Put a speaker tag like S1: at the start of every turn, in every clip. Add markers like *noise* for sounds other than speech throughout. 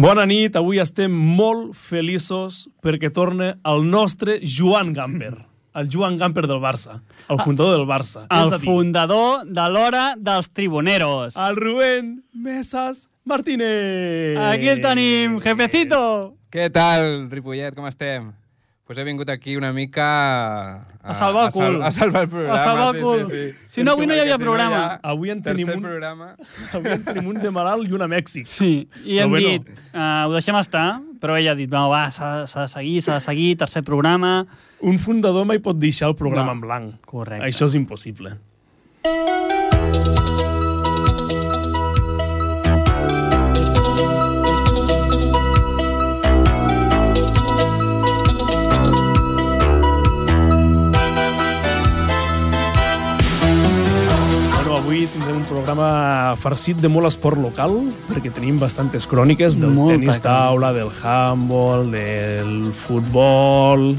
S1: Bona nit, avui estem molt feliços perquè torna el nostre Joan Gamper, el Joan Gamper del Barça, el fundador del Barça.
S2: Ah, El
S1: És a dir,
S2: fundador de l'hora dels tribuneros.
S1: el Rubén Mesas Martínez.
S2: Aquí el tenim, jefecito.
S3: Què tal, Ripollet, com estem? Pues he vingut aquí una mica... A,
S2: A salvar el
S3: sal-
S2: cul.
S3: A salvar el programa,
S2: A salvar el
S3: sí,
S2: cul.
S3: sí, sí.
S2: Si no, avui no hi havia
S3: Perquè si
S2: programa.
S3: ja-
S1: Avui en
S3: tercer
S1: tenim un-
S3: programa.
S1: Avui en tenim un de malalt i un a Mèxic.
S2: Sí, i
S1: Però
S2: hem
S1: bueno.
S2: dit, uh, ho deixem estar, però ella ha dit, no, va, s'ha s'ha de seguir, s'ha de seguir, tercer programa...
S1: Un fundador mai pot deixar el programa
S2: No.
S1: en blanc.
S2: Correcte.
S1: Això és impossible. Bueno, avui tindrem un programa farcit de molt esport local, perquè tenim bastantes cròniques del
S2: Molta
S1: tenis
S2: crònica.
S1: taula, del handball, del futbol...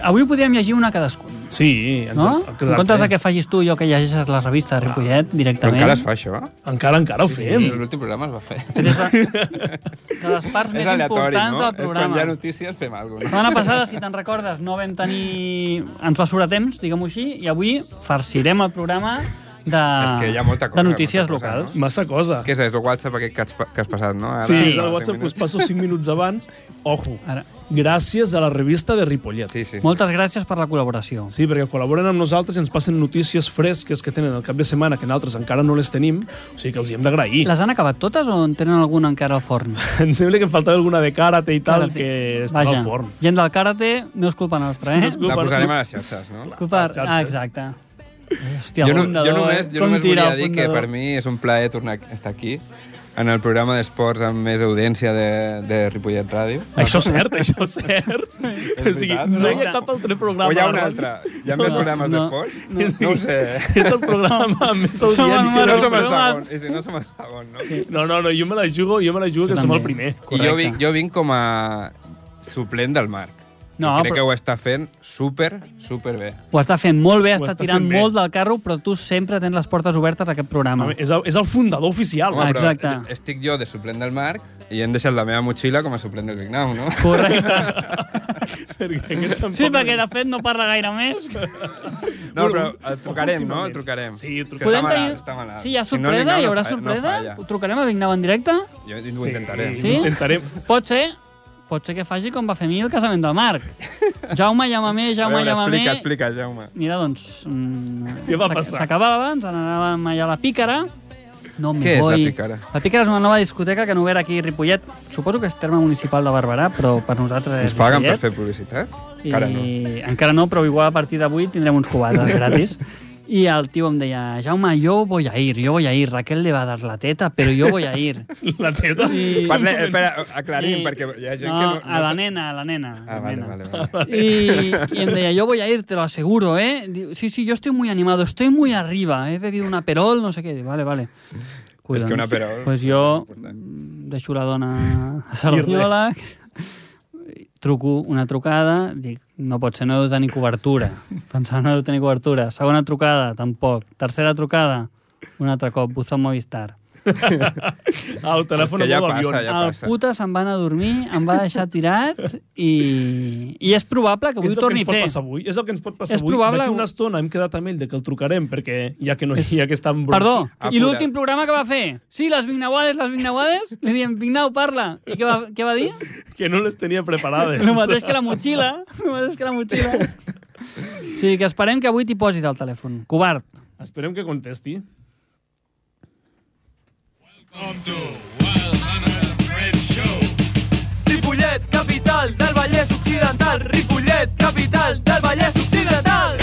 S2: Avui podríem llegir una cadascun,
S1: Sí, ens
S2: no?
S1: ha- ha
S2: En
S1: quedat
S2: comptes
S1: bé.
S2: de que facis tu i jo que llegeixes la revista de Ripollet
S3: Però
S2: directament.
S3: encara es fa això?
S1: Encara, encara ho fem.
S3: L'últim programa es va fer.
S2: De les parts més
S3: és aleatori,
S2: importants
S3: no?
S2: del
S3: És quan
S2: programa.
S3: hi ha notícies fem
S2: La
S3: alguna cosa.
S2: setmana passada, si te'n recordes, no vam tenir... Ens va sobrar temps, diguem-ho així, i avui farcirem el programa de,
S3: És que hi ha molta cosa,
S2: de notícies
S3: molta cosa,
S2: locals.
S1: Massa cosa.
S3: Què és, és el WhatsApp aquest que has, pa- que has passat, no? Ara,
S1: Sí,
S3: fa
S1: és el
S3: cinc
S1: WhatsApp que us
S3: minuts.
S1: passo 5 minuts abans. Ojo,
S2: Ara,
S1: gràcies a la revista de Ripollet.
S3: Sí, sí.
S2: moltes gràcies per la col·laboració.
S1: Sí, perquè col·laboren amb nosaltres i ens passen notícies fresques que tenen el cap de setmana que nosaltres encara no les tenim, o sigui que els hi hem d'agrair.
S2: Les han acabat totes o en tenen alguna encara al
S3: *laughs*
S2: forn?
S1: *laughs* Em sembla que em faltava alguna de karate i tal
S2: Karate.
S1: que estava
S2: Vaja,
S1: al forn.
S2: gent del karate, no és culpa nostra, eh?
S1: No és
S3: La
S1: culpa-
S3: posarem a les xarxes, no?
S2: Culpa...
S1: xarxes.
S2: Ah, exacte. Hòstia,
S3: jo, no,
S2: fundador, eh?
S3: jo només, jo
S2: com
S3: només
S2: tira
S3: volia
S2: el
S3: dir que
S2: fundador.
S3: per mi és un plaer tornar a estar aquí en el programa d'esports amb més audiència de, de Ripollet Ràdio.
S1: Això és cert, això és cert.
S3: *laughs*
S1: o sigui,
S3: veritat,
S1: no hi ha
S2: no?
S1: cap altre
S3: O
S1: programa.
S3: hi ha un
S1: de
S3: altre?
S1: ràdio.
S3: Hi ha
S2: eh?
S3: més
S2: No,
S3: programes
S2: no,
S3: d'esport? No, ho sé.
S1: És el programa amb més
S2: Som el
S1: audiència.
S3: Si no
S2: número
S1: del
S3: som el
S1: programa.
S3: segon, i si no som el segon, no?
S1: No, no, no, jo me la jugo, jo me la jugo
S2: Jo
S1: que som el
S2: també.
S1: primer.
S3: I jo
S2: Correcte.
S3: vinc, jo vinc com a suplent del Marc.
S2: No,
S3: No, crec
S2: però-
S3: que ho està fent super, super bé.
S2: Ho està fent molt bé,
S1: Ho
S2: està
S1: està
S2: tirant
S1: fent bé.
S2: molt del carro, però tu sempre tens les portes obertes a aquest programa.
S1: No, és, el, és el fundador oficial.
S3: Home, però
S2: exacte.
S3: estic jo de suplent del Marc i hem deixat la meva motxilla com a suplent del Vignau, no? *laughs*
S2: Correcte.
S1: *laughs* perquè aquest tampoc...
S2: Sí, perquè de fet no parla gaire més.
S3: No, però el trucarem, no? El trucarem.
S1: Sí, el trucarem.
S3: Que està malalt, està malalt.
S2: Sí, hi ha
S3: Si no, el
S2: sorpresa,
S3: Vignau
S2: hi
S3: no
S2: haurà
S3: fa- no
S2: sorpresa.
S3: falla.
S2: Ho trucarem a Vignau en directe.
S3: Jo ho intentaré.
S1: Sí,
S2: Sí?
S1: ho intentarem.
S2: Pot ser, pot ser que faci com va fer mi el casament del
S3: *laughs*
S2: Marc. Jaume, llama-me,
S3: A
S2: Jaume, eh?
S3: veure,
S2: llama-me.
S3: explica, explica, Jaume.
S2: Mira, doncs... mm,
S1: Què va
S2: s'ac-
S1: passar?
S2: S'acabava, ens n'anàvem allà a la Pícara. No me
S3: Què és la
S2: voy.
S3: Pícara?
S2: La Pícara és una nova discoteca que no era aquí a Ripollet. Suposo que és terme municipal de Barberà, però per nosaltres és
S3: Ens paguen per
S2: Ripollet.
S3: fer publicitat? Encara no.
S2: I encara no, però igual a partir d'avui tindrem uns cubates gratis. I el tio em deia, Jaume, jo voy a ir, yo voy a ir. Raquel le va a dar la teta, però jo voy a
S1: *laughs*
S2: ir.
S1: La teta.
S2: I...
S3: Parle, espera, aclarim,
S2: I-
S3: perquè hi ha gent
S2: no,
S3: que no... no
S2: a la
S3: sap-
S2: nena, a la nena. a
S3: Ah,
S2: la
S3: vale,
S2: nena.
S3: vale,
S2: *laughs*
S3: vale.
S2: Y, y em decía, yo voy a ir, te lo aseguro, ¿eh? Digo, sí, sí, yo estoy muy animado, estoy muy arriba, he bebido una perol, no sé qué. Vale, vale.
S3: És
S2: Cuida'ns.
S3: que una perol-
S2: Pues yo
S3: Important.
S2: mm, deixo la
S1: *laughs*
S2: dona a Saronyola, truco una trucada, dic, no pot ser, no deu tenir cobertura. Pensava, no deu tenir cobertura. Segona trucada, tampoc. Tercera trucada, un altre cop, buzo Movistar.
S1: El telèfon
S3: És que ja
S1: amb l'avió.
S3: passa, ja.
S2: el
S3: passa.
S2: puta se'n va anar a dormir, em va deixar tirat i, i és probable
S1: És
S2: que avui
S1: el
S2: ho
S1: que
S2: torni
S1: ens
S2: a
S1: pot
S2: fer.
S1: passar avui. És el que ens pot passar
S2: És
S1: avui.
S2: probable-
S1: D'aquí una estona hem quedat amb ell de que el trucarem, perquè ja que no hi ha aquesta embronca...
S2: Perdó,
S3: Apura't.
S2: i l'últim programa que va fer? Sí, les Vignauades, les
S1: *laughs*
S2: Vignauades? Li diem, Vignau, parla. I què va, què va dir?
S1: *laughs* Que no les tenia preparades.
S2: El mateix que la motxilla. El mateix que la motxilla. Sí, que esperem que avui t'hi posis al telèfon. Covard.
S1: Esperem que contesti.
S4: Ripollet, capital del Vallès Occidental. Ripollet, capital del Vallès Occidental.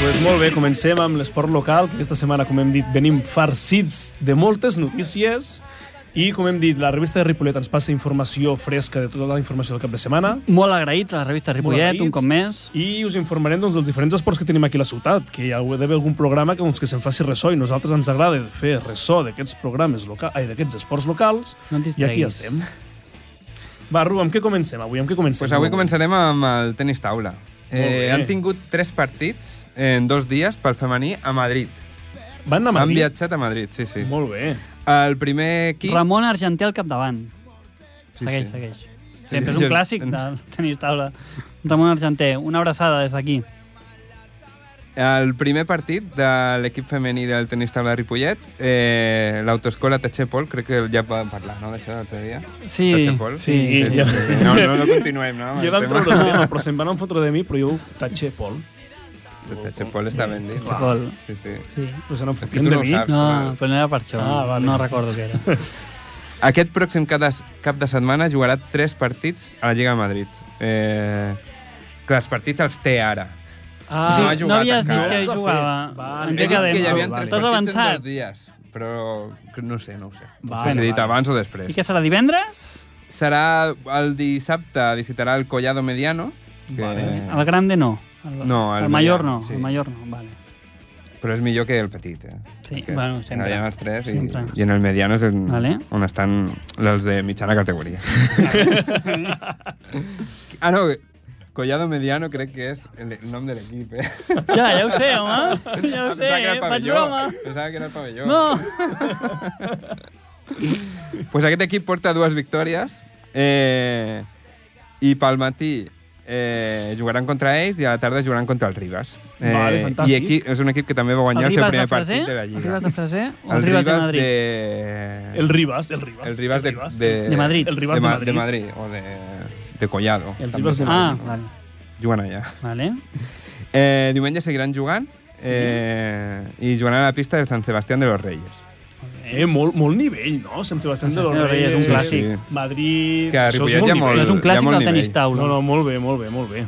S1: Pues Doncs molt bé, comencem amb l'esport local, que aquesta setmana, com hem dit, venim farcits de moltes notícies i, com hem dit, la revista de Ripollet ens passa informació fresca de tota la informació del cap de setmana
S2: Molt agraïts a la revista Ripollet,
S1: agraïts.
S2: un cop més.
S1: i us informarem doncs, dels diferents esports que tenim aquí a la ciutat, que hi ha d'haver algun programa que, doncs, que se'n faci ressò i nosaltres ens agrada fer ressò d'aquests programes locals, ai, d'aquests esports locals,
S2: No et
S1: i aquí
S2: distreguis.
S1: estem. Va, Ru, amb què comencem avui? Amb què comencem?
S3: Pues avui
S1: Ru?
S3: començarem amb el tenis taula.
S1: bé.
S3: Eh, han tingut tres partits en dos dies pel femení a Madrid.
S1: Van anar a
S3: Han
S1: Madrid.
S3: viatjat a Madrid, sí, sí.
S1: Molt bé.
S3: El primer equip...
S2: Ramon Argenté al capdavant.
S3: Sí,
S2: segueix,
S3: sí.
S2: segueix. Sempre és
S3: jo-
S2: un clàssic de tenir taula. Ramon Argenté, una abraçada des d'aquí.
S3: El primer partit de l'equip femení del tenis taula de Ripollet, eh, l'autoescola Tachepol, crec que ja vam parlar, no?, d'això l'altre dia.
S2: Sí,
S3: Tachepol?
S2: sí,
S1: sí, ja-
S3: No, no, no continuem, no? amb
S1: Jo
S3: el
S1: vam
S3: tema.
S1: treure el tema, però se'n van fotre de mi, però jo tatxé, Pol.
S3: Tachepol està ben dit.
S2: Tachepol.
S3: Sí, sí.
S2: Sí.
S1: Però se n'han
S3: És que
S1: fotut
S3: tu
S1: de
S3: no ho
S1: mi.
S3: saps.
S2: No, però no era per això.
S1: Ah, vale.
S2: No recordo què era.
S3: Aquest pròxim cap de, cap de setmana jugarà tres partits a la Lliga de Madrid. Eh, que els partits els té ara.
S1: Ah, no
S3: Sí,
S1: ha
S3: no ha
S1: jugat.
S2: no havies
S3: encara.
S2: dit que hi
S1: No s'ha
S2: jugava.
S1: fet. Vale.
S2: En
S1: He
S2: què
S1: dit que
S2: quedem?
S1: hi havia
S3: havien
S2: T'has
S3: tres partits en dos
S2: avançat.
S3: dies, però no sé, no ho sé. No
S1: Vale,
S3: sé si he dit
S1: vale.
S3: abans o
S2: I
S3: després.
S2: què serà, divendres?
S3: Serà el dissabte, visitarà el Collado Mediano, que...
S2: El grande no. El,
S3: No, el
S2: el major
S3: mitjà,
S2: no.
S3: sí.
S2: El major no, vale.
S3: però és millor que el petit, eh?
S2: Sí,
S3: Perquè
S2: bueno, sempre.
S3: Allà hi ha els tres i,
S2: Sempre.
S3: i en el Mediano és on,
S2: Vale.
S3: on estan els de mitjana
S2: *laughs*
S3: categoria. ah, no, Collado Mediano crec que és el el nom de l'equip, eh?
S2: Ja, ja ho sé, home. Ja ho sé,
S3: *laughs*
S2: eh,
S3: Pensava que era el
S2: faig
S3: pavelló.
S2: broma.
S3: Pensava que era el pavelló.
S2: No.
S3: pues aquest equip porta dues victòries eh, i pel matí eh, jugaran contra ells i a la tarda jugaran contra el Ribas. Eh,
S1: Vale, fantàstic.
S3: I aquí és un equip que també va
S2: El
S3: guanyar el, seu
S2: Ribas de
S3: primer
S2: Freser?
S3: partit de la
S2: El
S3: Lliga.
S2: Ribas de Freser o el Ribas de Madrid?
S3: de...
S1: El Ribas, el Ribas.
S3: eh? el Ribas de, de,
S2: De Madrid.
S1: El Ribas de
S3: Ma-
S1: Madrid.
S3: de Madrid o de, de Collado.
S1: El
S3: també
S1: Ribas de
S3: se'n
S2: Ah,
S3: diu.
S2: vale.
S3: Juguen allà.
S2: Vale.
S3: Eh, diumenge seguiran jugant eh, i jugaran a la pista de Sant Sebastián de los Reyes.
S1: Eh, molt, molt nivell, no? Sant Sebastián de
S2: Sant
S1: los
S2: Sebastián de los
S1: Reyes.
S2: Reyes,
S3: un clàssic. Sí,
S1: Madrid...
S3: És que a
S1: Això
S3: Ripollet
S1: és
S3: hi ha
S1: molt
S3: molt-
S1: nivell.
S2: És un clàssic
S3: hi ha molt
S2: del tenis
S3: nivell.
S2: taula.
S1: No, no, molt bé, molt bé, molt bé.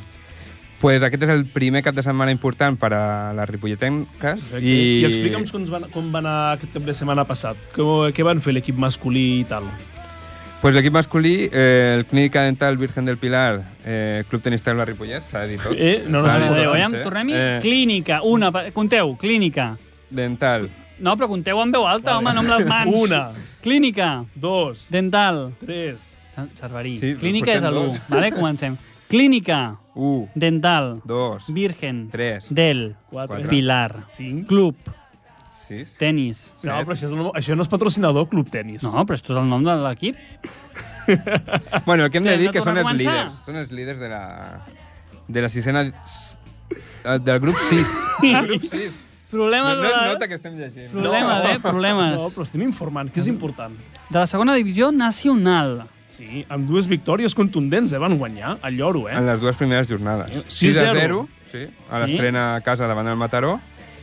S3: Pues aquest és el primer cap de setmana important per a les ripolletenques.
S1: Perfecte. I, I explica'm com, es van, com va anar aquest cap de setmana passat. Com, què van fer l'equip masculí i tal?
S3: Pues l'equip masculí, eh, el Clínica Dental Virgen del Pilar, eh, Club Tenis Taula Ripollet, s'ha de dir tot.
S1: Eh, no, no
S3: S'ha
S1: s'ha de
S3: de dir
S1: dir,
S3: tot
S2: Adéu, aviam,
S3: sencer.
S2: tornem-hi.
S3: eh,
S2: Clínica, una. pa- Compteu, clínica.
S3: Dental,
S2: No, però compteu amb veu alta, home, no amb les mans.
S1: Una.
S2: Clínica,
S1: Dos,
S2: dental,
S1: tres...
S2: Cer- cerverí.
S3: Sí,
S2: Clínica és
S3: portem
S2: l'1,
S3: dos.
S2: vale? Comencem. Clínica,
S3: 1,
S2: dental,
S3: 2,
S2: virgen,
S3: Tres.
S2: del,
S1: Quatre.
S2: pilar,
S1: Cinc.
S2: club,
S3: 6...
S2: tenis.
S1: No, però això, és el, això no és patrocinador, Club Tenis.
S2: No, però és tot el nom de l'equip.
S3: Bueno, el que hem de
S2: Hem de
S3: dir que són
S2: tornar a
S3: els
S2: començar?
S3: líders. Són els líders de la, de la sisena... s- eh, Del grup 6. Del grup 6. No,
S2: Problemes,
S3: no es
S2: de-
S3: nota que estem llegint.
S2: problemes, eh? Problemes.
S1: No, però estem informant, que és important.
S2: De la segona divisió nacional.
S1: Sí, amb dues victòries contundents, eh? Van guanyar al lloro, eh?
S3: En les dues primeres jornades.
S1: 6 a 0.
S3: sí, a
S2: Sí.
S3: l'estrena a casa davant del Mataró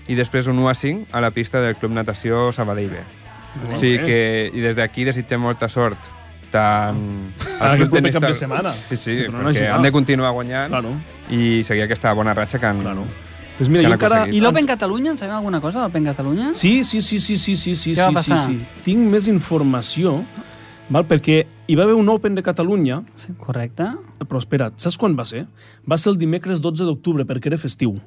S3: i després un 1 a 5 a la pista del Club Natació Sabadell B. O sigui que, i des d'aquí desitgem molta sort tant
S1: Ara
S3: al
S1: aquest
S3: Club
S1: proper
S3: Tenis
S1: cap de
S3: Taula-
S1: setmana.
S3: Sí, sí,
S1: Que tornen a
S3: perquè
S1: jugar.
S3: han de continuar guanyant
S1: Claro.
S3: i seguir aquesta bona ratxa que han...
S1: Claro. Pues mira,
S3: Que
S1: jo
S3: l'ha
S1: encara...
S3: aconseguit.
S2: I l'Open Catalunya, en sabem alguna cosa, l'Open Catalunya?
S1: Doncs- Sí, sí, sí, sí, sí, sí, sí,
S2: Què va
S1: sí, sí,
S2: passar?
S1: sí. Tinc més informació, val? perquè hi va haver un Open de Catalunya,
S2: Sí, correcte.
S1: però espera, saps quan va ser? Va ser el dimecres 12 d'octubre, perquè era festiu.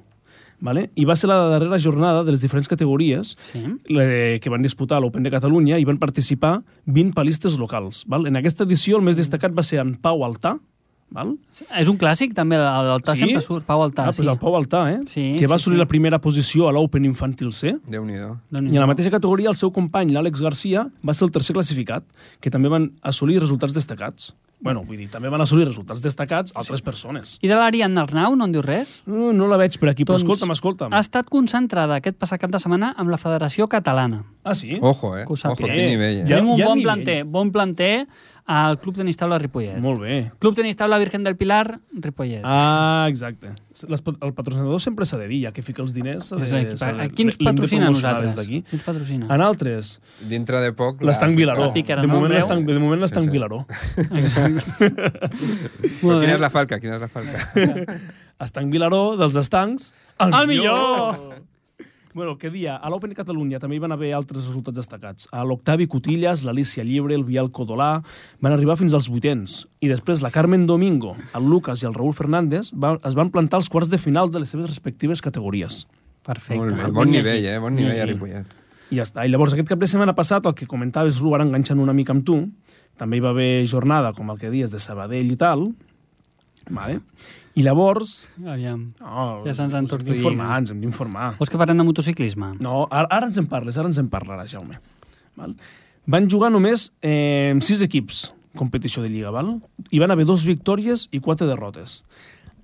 S1: Vale? I va ser la darrera jornada de les diferents categories
S2: Sí.
S1: eh, que van disputar a l'Open de Catalunya i van participar 20 palistes locals. Val? En aquesta edició el més destacat va ser en Pau Altà, val?
S2: És un clàssic, també, el d'Altà
S1: Sí?
S2: sempre surt, Pau Altà,
S1: ah,
S2: sí.
S1: pues el Pau Altà, eh?
S2: Sí,
S1: que va
S2: sí,
S1: assolir
S2: sí.
S1: la primera posició a l'Open Infantil C.
S3: Déu-n'hi-do.
S2: Déu-n'hi-do.
S1: I en la mateixa categoria, el seu company, l'Àlex Garcia, va ser el tercer classificat, que també van assolir resultats destacats. bueno, vull dir, també van assolir resultats destacats altres persones.
S2: I de l'Ariadna Arnau, no en diu res?
S1: No, no la veig per aquí, però
S2: Doncs,
S1: escolta'm, escolta'm.
S2: Ha estat concentrada aquest passat cap de setmana amb la Federació Catalana.
S1: Ah, sí?
S3: Ojo, eh?
S2: Que ho
S3: Ojo,
S2: sàpiga.
S3: quin nivell, eh?
S1: Ja-
S2: Tenim un
S1: hi ha
S2: bon
S1: nivell.
S2: planter, bon planter al Club Tenis Taula Ripollet.
S1: Molt bé.
S2: Club Tenis Taula Virgen del Pilar, Ripollet.
S1: Ah, exacte. Les, pat- el patrocinador sempre s'ha de dir, ja que fica els diners... s'ha de-
S3: eh,
S2: És l'equip.
S1: s'ha de-
S2: A qui ens
S1: l'hem de
S2: patrocina a
S1: promocionar
S2: nosaltres?
S1: Des d'aquí.
S2: Qui ens patrocina?
S1: En altres,
S3: Dintre de poc... la-
S1: l'estanc Vilaró.
S2: La pícara,
S1: de,
S2: no?
S1: moment
S2: Veu?
S1: l'estanc, de moment l'estanc
S3: Sí, sí.
S1: Vilaró.
S3: *laughs* Però
S2: Molt bé.
S3: Quina és la falca? Quina és la
S2: *laughs*
S3: falca?
S1: Estanc Vilaró, dels estancs, el,
S2: El millor!
S1: millor! Bueno, que dia? A l'Open Catalunya també hi van haver altres resultats destacats. A l'Octavi Cotillas, l'Alicia Llibre, el Biel Codolà van arribar fins als vuitens. I després la Carmen Domingo, el Lucas i el Raúl Fernández va, es van plantar als quarts de final de les seves respectives categories.
S2: Perfecte.
S3: Molt bé,
S2: el
S3: bon
S2: puny
S3: nivell,
S2: així.
S3: eh? Bon nivell a Ripollet.
S1: I ja està. I llavors aquest cap de setmana passat, el que comentaves, Ru, ara enganxant una mica amb tu, també hi va haver jornada, com el que dies, de Sabadell i tal, Vale. I llavors...
S2: Aviam.
S1: Oh,
S2: Ja se'ns
S1: hem
S2: han tortollit.
S1: d'informar, ens hem d'informar.
S2: Vols que parlem de motociclisme?
S1: No, ara, ara ens en parles, ara ens en parlarà, Jaume. Val? Van jugar només eh, sis equips competició de Lliga, val? Hi van haver dos victòries i quatre derrotes.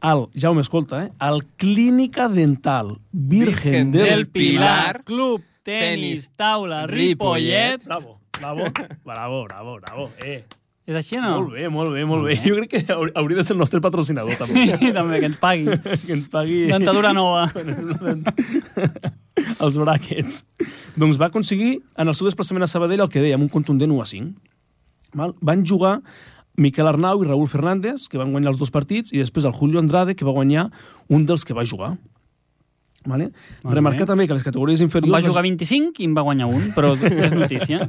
S1: Al, Jaume, escolta, eh? Al Clínica Dental Virgen,
S3: Virgen
S1: del...
S3: del Pi- Pilar,
S2: Club, Tenis,
S3: Tenis,
S2: Taula,
S3: Ripollet.
S2: Ripollet...
S1: Bravo, bravo, bravo, bravo, bravo. Eh,
S2: És així o no?
S1: no.
S2: *laughs*
S1: Molt bé, molt bé, molt bé. Jo crec que haur- hauria de ser el nostre patrocinador, també.
S2: I també que ens pagui.
S1: *laughs* que ens pagui...
S2: Dentadura nova.
S1: els brackets. Doncs va aconseguir, en el seu desplaçament a Sabadell, el que dèiem, un contundent 1 a 5. Val? Van jugar Miquel Arnau i Raúl Fernández, que van guanyar els dos partits, i després el Julio Andrade, que va guanyar un dels que va jugar. Vale?
S2: Molt
S1: Remarcar
S2: bé.
S1: també que les categories
S2: Em
S1: inferiors...
S2: va jugar 25 i em va guanyar un, però és notícia.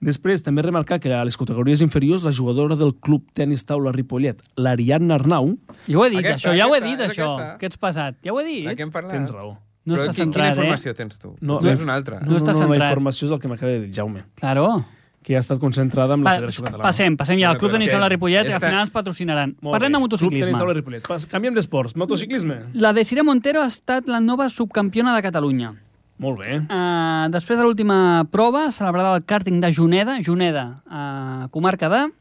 S1: Després també remarcar que a les categories inferiors la jugadora del club tenis taula Ripollet, l'Ariadna Arnau,
S2: Jo ho he dit,
S3: Aquesta,
S2: això, ja ho he
S3: aquesta,
S2: dit,
S3: és
S2: això.
S3: aquesta.
S2: Què ets passat? Ja ho he
S3: De què
S2: dit.
S3: hem parlat?
S1: tens raó.
S2: No
S3: Però
S2: està
S3: qui- quina
S2: centrat, eh?
S3: informació tens tu?
S1: No,
S3: No, Potser
S1: no.
S3: és una altra.
S2: No està
S1: no, la
S2: centrat.
S1: informació és el que m'acaba de dir Jaume,
S2: Claro.
S1: que ha estat concentrada amb la
S2: Va,
S1: Federació Catalana.
S2: passem, passem ja. El Club Tenis Taula Ripollet, que al
S3: Esta-
S2: final ens patrocinaran.
S1: Molt
S2: Parlem
S1: bé.
S2: de
S1: Club tenis taula
S2: motociclisme.
S1: Ripollet. Pas, canviem d'esports. Motociclisme.
S2: La Desiree Montero ha estat la nova subcampiona de Catalunya.
S1: Molt bé.
S2: Uh, després de l'última prova, celebrada al càrting de Juneda, Juneda, uh, comarca de...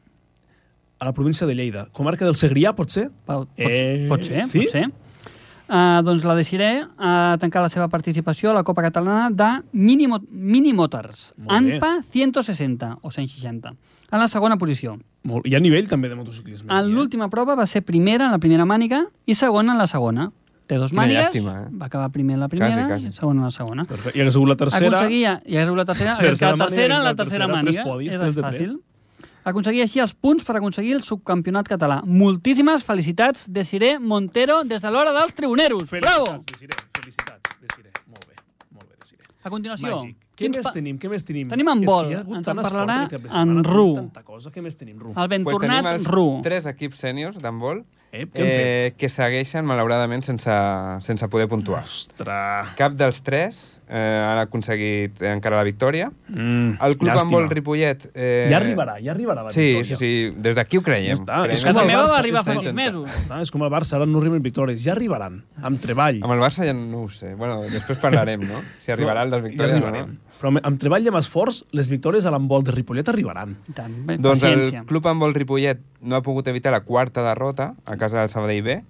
S1: A la província de Lleida. Comarca del Segrià, pot ser?
S2: Pot, pot,
S1: Eh,
S2: pot ser,
S1: sí?
S2: pot ser. Uh, doncs la Desiree ha tancat la seva participació a la Copa Catalana de Minimo, Minimotors,
S1: Molt bé.
S2: ANPA 160 o 160, en la segona posició.
S1: Molt. Hi ha nivell també de motociclisme.
S2: En l'última prova va ser primera en la primera màniga i segona en la segona. Té dos
S3: Quina
S2: mànigues,
S3: llàstima, eh?
S2: va acabar primer en la primera
S3: Quasi, quasi.
S2: i segona en la segona.
S1: Perfecte. I hagués sigut la tercera.
S2: Aconseguia, ja és la tercera, hagués
S1: *laughs* Tercera
S2: quedat tercera
S1: màniga,
S2: en la
S1: la
S2: tercera
S1: tercera,
S2: màniga.
S1: tres podis,
S2: és
S1: tres de
S2: fàcil. Aconseguia així els punts per aconseguir el subcampionat català. Moltíssimes felicitats, Desiré Montero, des de l'hora dels tribuneros. Bravo!
S1: Felicitats, Desiré. Felicitats, Desiré. Molt bé. Molt bé, Desiré.
S2: A continuació,
S1: Màgic. Què
S2: quins
S1: més
S2: pa-
S1: tenim? Què més tenim?
S2: Tenim
S1: És
S2: en
S1: que
S2: vol.
S1: hi ha hagut
S2: Ens
S1: tant
S2: en
S1: esport
S2: parlarà
S1: aquest cap de
S2: en
S1: setmana, ha
S2: Ru.
S1: hagut Tanta cosa. Què més tenim, Ru?
S2: el ben
S3: Pues tenim
S2: tornat
S3: els
S2: Ru.
S3: tres equips sèniors d'handbol
S1: Ep, què hem fet?
S3: eh, que segueixen, malauradament, sense, sense poder puntuar.
S1: Ostres.
S3: Cap dels tres eh, han aconseguït eh, encara la victòria.
S1: Mm,
S3: El club
S1: llàstima.
S3: handbol Ripollet... Eh,
S1: Ja arribarà, ja arribarà la
S3: Sí, sí,
S1: victòria.
S3: sí, des d'aquí ho creiem.
S1: Ja està,
S3: Creiem
S1: és
S3: en
S2: Casa
S1: el
S2: meva
S1: Barça,
S2: va arribar fa
S3: és
S2: sis
S3: intentar.
S2: mesos.
S1: Està, és com el Barça, ara no arriben victòries. Ja arribaran, amb treball.
S3: Amb el Barça ja no ho sé. Bueno, després parlarem, no?
S1: *laughs*
S3: Si arribarà el dels
S1: Ja
S3: victòries.
S1: arribarem. Però amb- amb treball i amb esforç, les victòries a l'embol de Ripollet arribaran.
S2: I tant, bé,
S3: No? Doncs el
S2: paciència.
S3: club handbol Ripollet no ha pogut evitar la quarta derrota a casa del Sabadell B,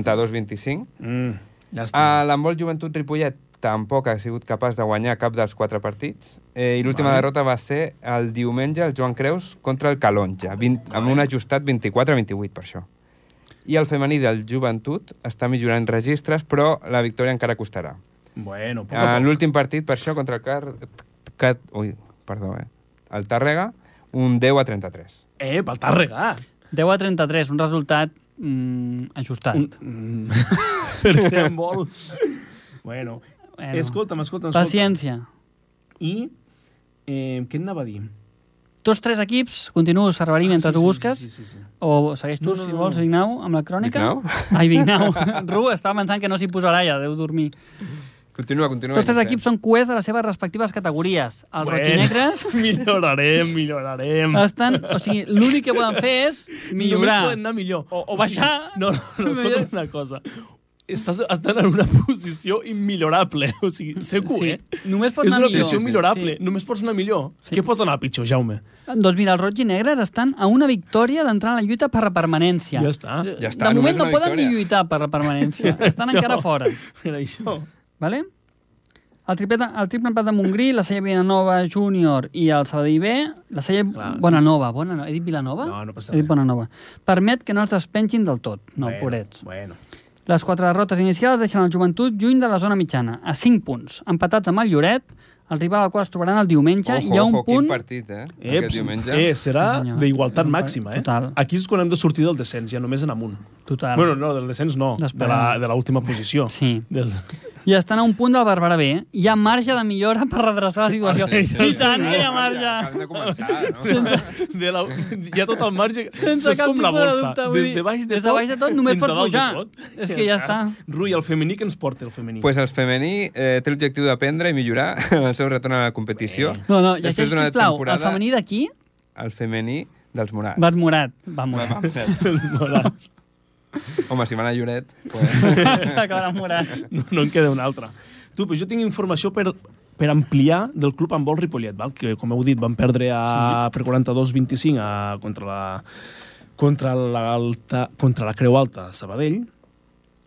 S3: 42-25.
S1: Mm, llàstima.
S3: A l'handbol Joventut Ripollet tampoc ha sigut capaç de guanyar cap dels quatre partits. Eh, I l'última
S1: Vale.
S3: derrota va ser el diumenge el Joan Creus contra el Calonja, 20, amb un ajustat 24-28 per això. I el femení del Joventut està millorant registres, però la victòria encara costarà.
S1: bueno, poc a
S3: En
S1: poc.
S3: l'últim partit, per això, contra el Car... Cat... Ui, perdó, eh? El Tàrrega, un 10 a 33.
S1: Eh, pel Tàrrega!
S2: 10 a 33, un resultat mm, ajustat.
S1: Un... Mm. *laughs* per ser embol. bueno.
S2: Bueno.
S1: bueno. Escolta'm, escolta'm, escolta'm.
S2: Paciència.
S1: I eh, què anava a dir?
S2: Tots tres equips, continuo Cerverí mentre
S1: Ah, sí,
S2: tu
S1: sí,
S2: busques,
S1: Sí, sí, sí, sí.
S2: o segueix tu,
S1: No, no,
S2: si
S1: no.
S2: vols, Vignau, amb la crònica.
S3: Vignau?
S2: Ai,
S3: *laughs*
S2: Vignau. Ru estava pensant que no s'hi posarà ja, deu dormir.
S3: Continua, continua.
S2: Tots els equips són cuers de les seves respectives categories. Els
S1: Bueno. *laughs*
S2: rotinegres
S1: Millorarem, millorarem.
S2: estan... O sigui, l'únic que poden fer és
S1: Només
S2: millorar.
S1: poden anar millor.
S2: O- o baixar. *laughs*
S1: No, no, no escolta'm una cosa. Estàs, estan en una *laughs* posició immillorable. O sigui, ser cuer.
S2: Sí, només pot
S1: eh? és
S2: anar
S1: una
S2: millor.
S1: posició
S3: Sí, sí.
S1: immillorable.
S2: Sí.
S1: Només pots anar millor. Què pot anar pitjor, Ah, Jaume?
S2: Doncs mira, els roig i negres estan a una victòria d'entrar en la lluita per la permanència.
S1: Ja està.
S3: Ja està,
S2: de moment
S3: només
S2: no
S3: una
S2: poden ni
S3: victòria.
S2: lluitar per la
S1: *laughs*
S2: permanència. Estan
S1: Això.
S2: encara fora.
S1: Per això.
S2: Vale? El triple, el triple empat de Montgrí, la Sella Vilanova Júnior i el Sabadell B, la Sella
S1: Clar.
S2: Bonanova, Bonanova, he dit Vilanova?
S1: No, no passa
S2: he dit
S1: res.
S2: Bonanova. Permet que no els despengin del tot, no,
S1: Bueno,
S2: pobrets.
S1: Bueno.
S2: Les quatre derrotes inicials deixen el joventut lluny de la zona mitjana, a 5 punts, empatats amb el Lloret, el rival al qual es trobaran el diumenge,
S3: Ojo,
S2: hi ha un
S3: ojo,
S2: punt...
S3: quin partit, eh?
S1: Eh,
S3: Aquest diumenge.
S1: eh, serà
S2: Sí, senyor.
S1: d'igualtat
S2: Total.
S1: màxima, eh?
S2: Total.
S1: Aquí és quan hem de sortir del descens, ja només en amunt.
S2: Total.
S1: Bueno, no, del descens no, de la-
S2: D'esperar.
S1: de l'última posició.
S2: Sí.
S1: Del...
S2: I estan a un punt del Barberà B. Hi ha marge de millora per redreçar la situació.
S3: Ah,
S2: I tant eh, que hi ha marge!
S3: Acabem de començar, no?
S1: De la... Hi ha tot el marge.
S2: Sense
S1: és
S2: cap
S1: com la
S2: tipus de
S1: borsa.
S2: dubte, vull
S1: des
S2: dir,
S1: de baix de
S2: des de
S1: tot,
S2: baix de tot només
S1: fins
S2: pot
S1: a dalt de
S2: pujar.
S1: tot.
S2: És que ja està.
S1: Rui, el femení, que ens porta el femení? *laughs*
S3: pues el femení eh, té l'objectiu d'aprendre i millorar en el seu retorn a la competició.
S2: No, no,
S3: Després
S2: llegeix,
S3: d'una
S2: sisplau,
S3: temporada-
S2: el femení d'aquí
S3: El femení dels Morats.
S2: Vas morat. Va morat.
S3: Van Morat.
S1: Els morats.
S3: Home, si van a Lloret... *laughs* Pues...
S2: Acabarà morat.
S1: *laughs* No, no en queda un altre. Tu, però jo tinc informació per, per ampliar del club amb vol Ripollet, val? que, com heu dit, van perdre a, per 42-25 a- contra la, contra, l'alta, contra la Creu Alta a Sabadell.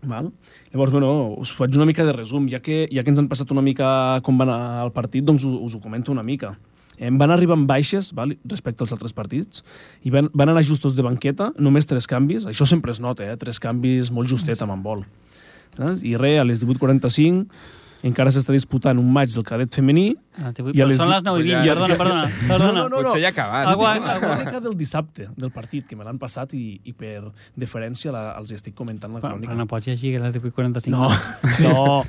S1: Val? Llavors, bueno, us faig una mica de resum, ja que, ja que ens han passat una mica com va anar el partit, doncs us, us ho comento una mica. Em van arribar amb baixes val? respecte als altres partits i van, van anar justos de banqueta, només tres canvis, això sempre es nota, eh? tres canvis molt justet amb en vol. Saps? I res, a les 18.45 encara s'està disputant un maig del cadet femení.
S2: Ah, t'he-
S1: I a les
S2: Són les 9 i 20,
S3: Ja, ja,
S2: perdona,
S3: ja.
S2: perdona.
S1: No,
S2: perdona.
S1: no,
S3: Potser ja ha acabat.
S2: Agua-
S1: La crònica del dissabte, del partit, que me l'han passat i, i per deferència la, els estic comentant la
S2: Però, però
S1: crònica.
S2: no pots llegir que les 18.45.
S1: No,
S3: *laughs*
S1: no.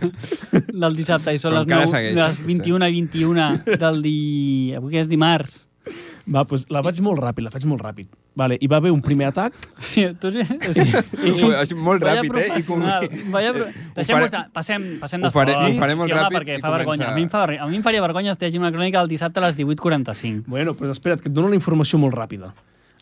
S2: Del dissabte, i són
S3: Però
S2: les,
S3: encara
S2: 9,
S3: segueix,
S2: les
S3: sí.
S2: 21 21 del di... Avui que és dimarts.
S1: Va, pues la vaig molt ràpid, la faig molt ràpid. Vale, hi va haver un primer atac.
S2: Sí, tu... sí, O sigui,
S3: Ho- és molt
S2: vaya
S3: ràpid, eh? I com- Eh,
S2: professional, Vaya... Pro... Deixem
S3: faré-
S2: estar, passem, passem
S3: ho faré-
S2: d'esport.
S3: ho faré molt
S2: sí, home,
S3: ràpid
S2: perquè
S3: i
S2: fa vergonya.
S3: comença-
S2: A mi, em fa vergonya. a mi em faria vergonya estar llegint una crònica el dissabte a les 18.45.
S1: Bueno, però espera't, que et dono una informació molt ràpida.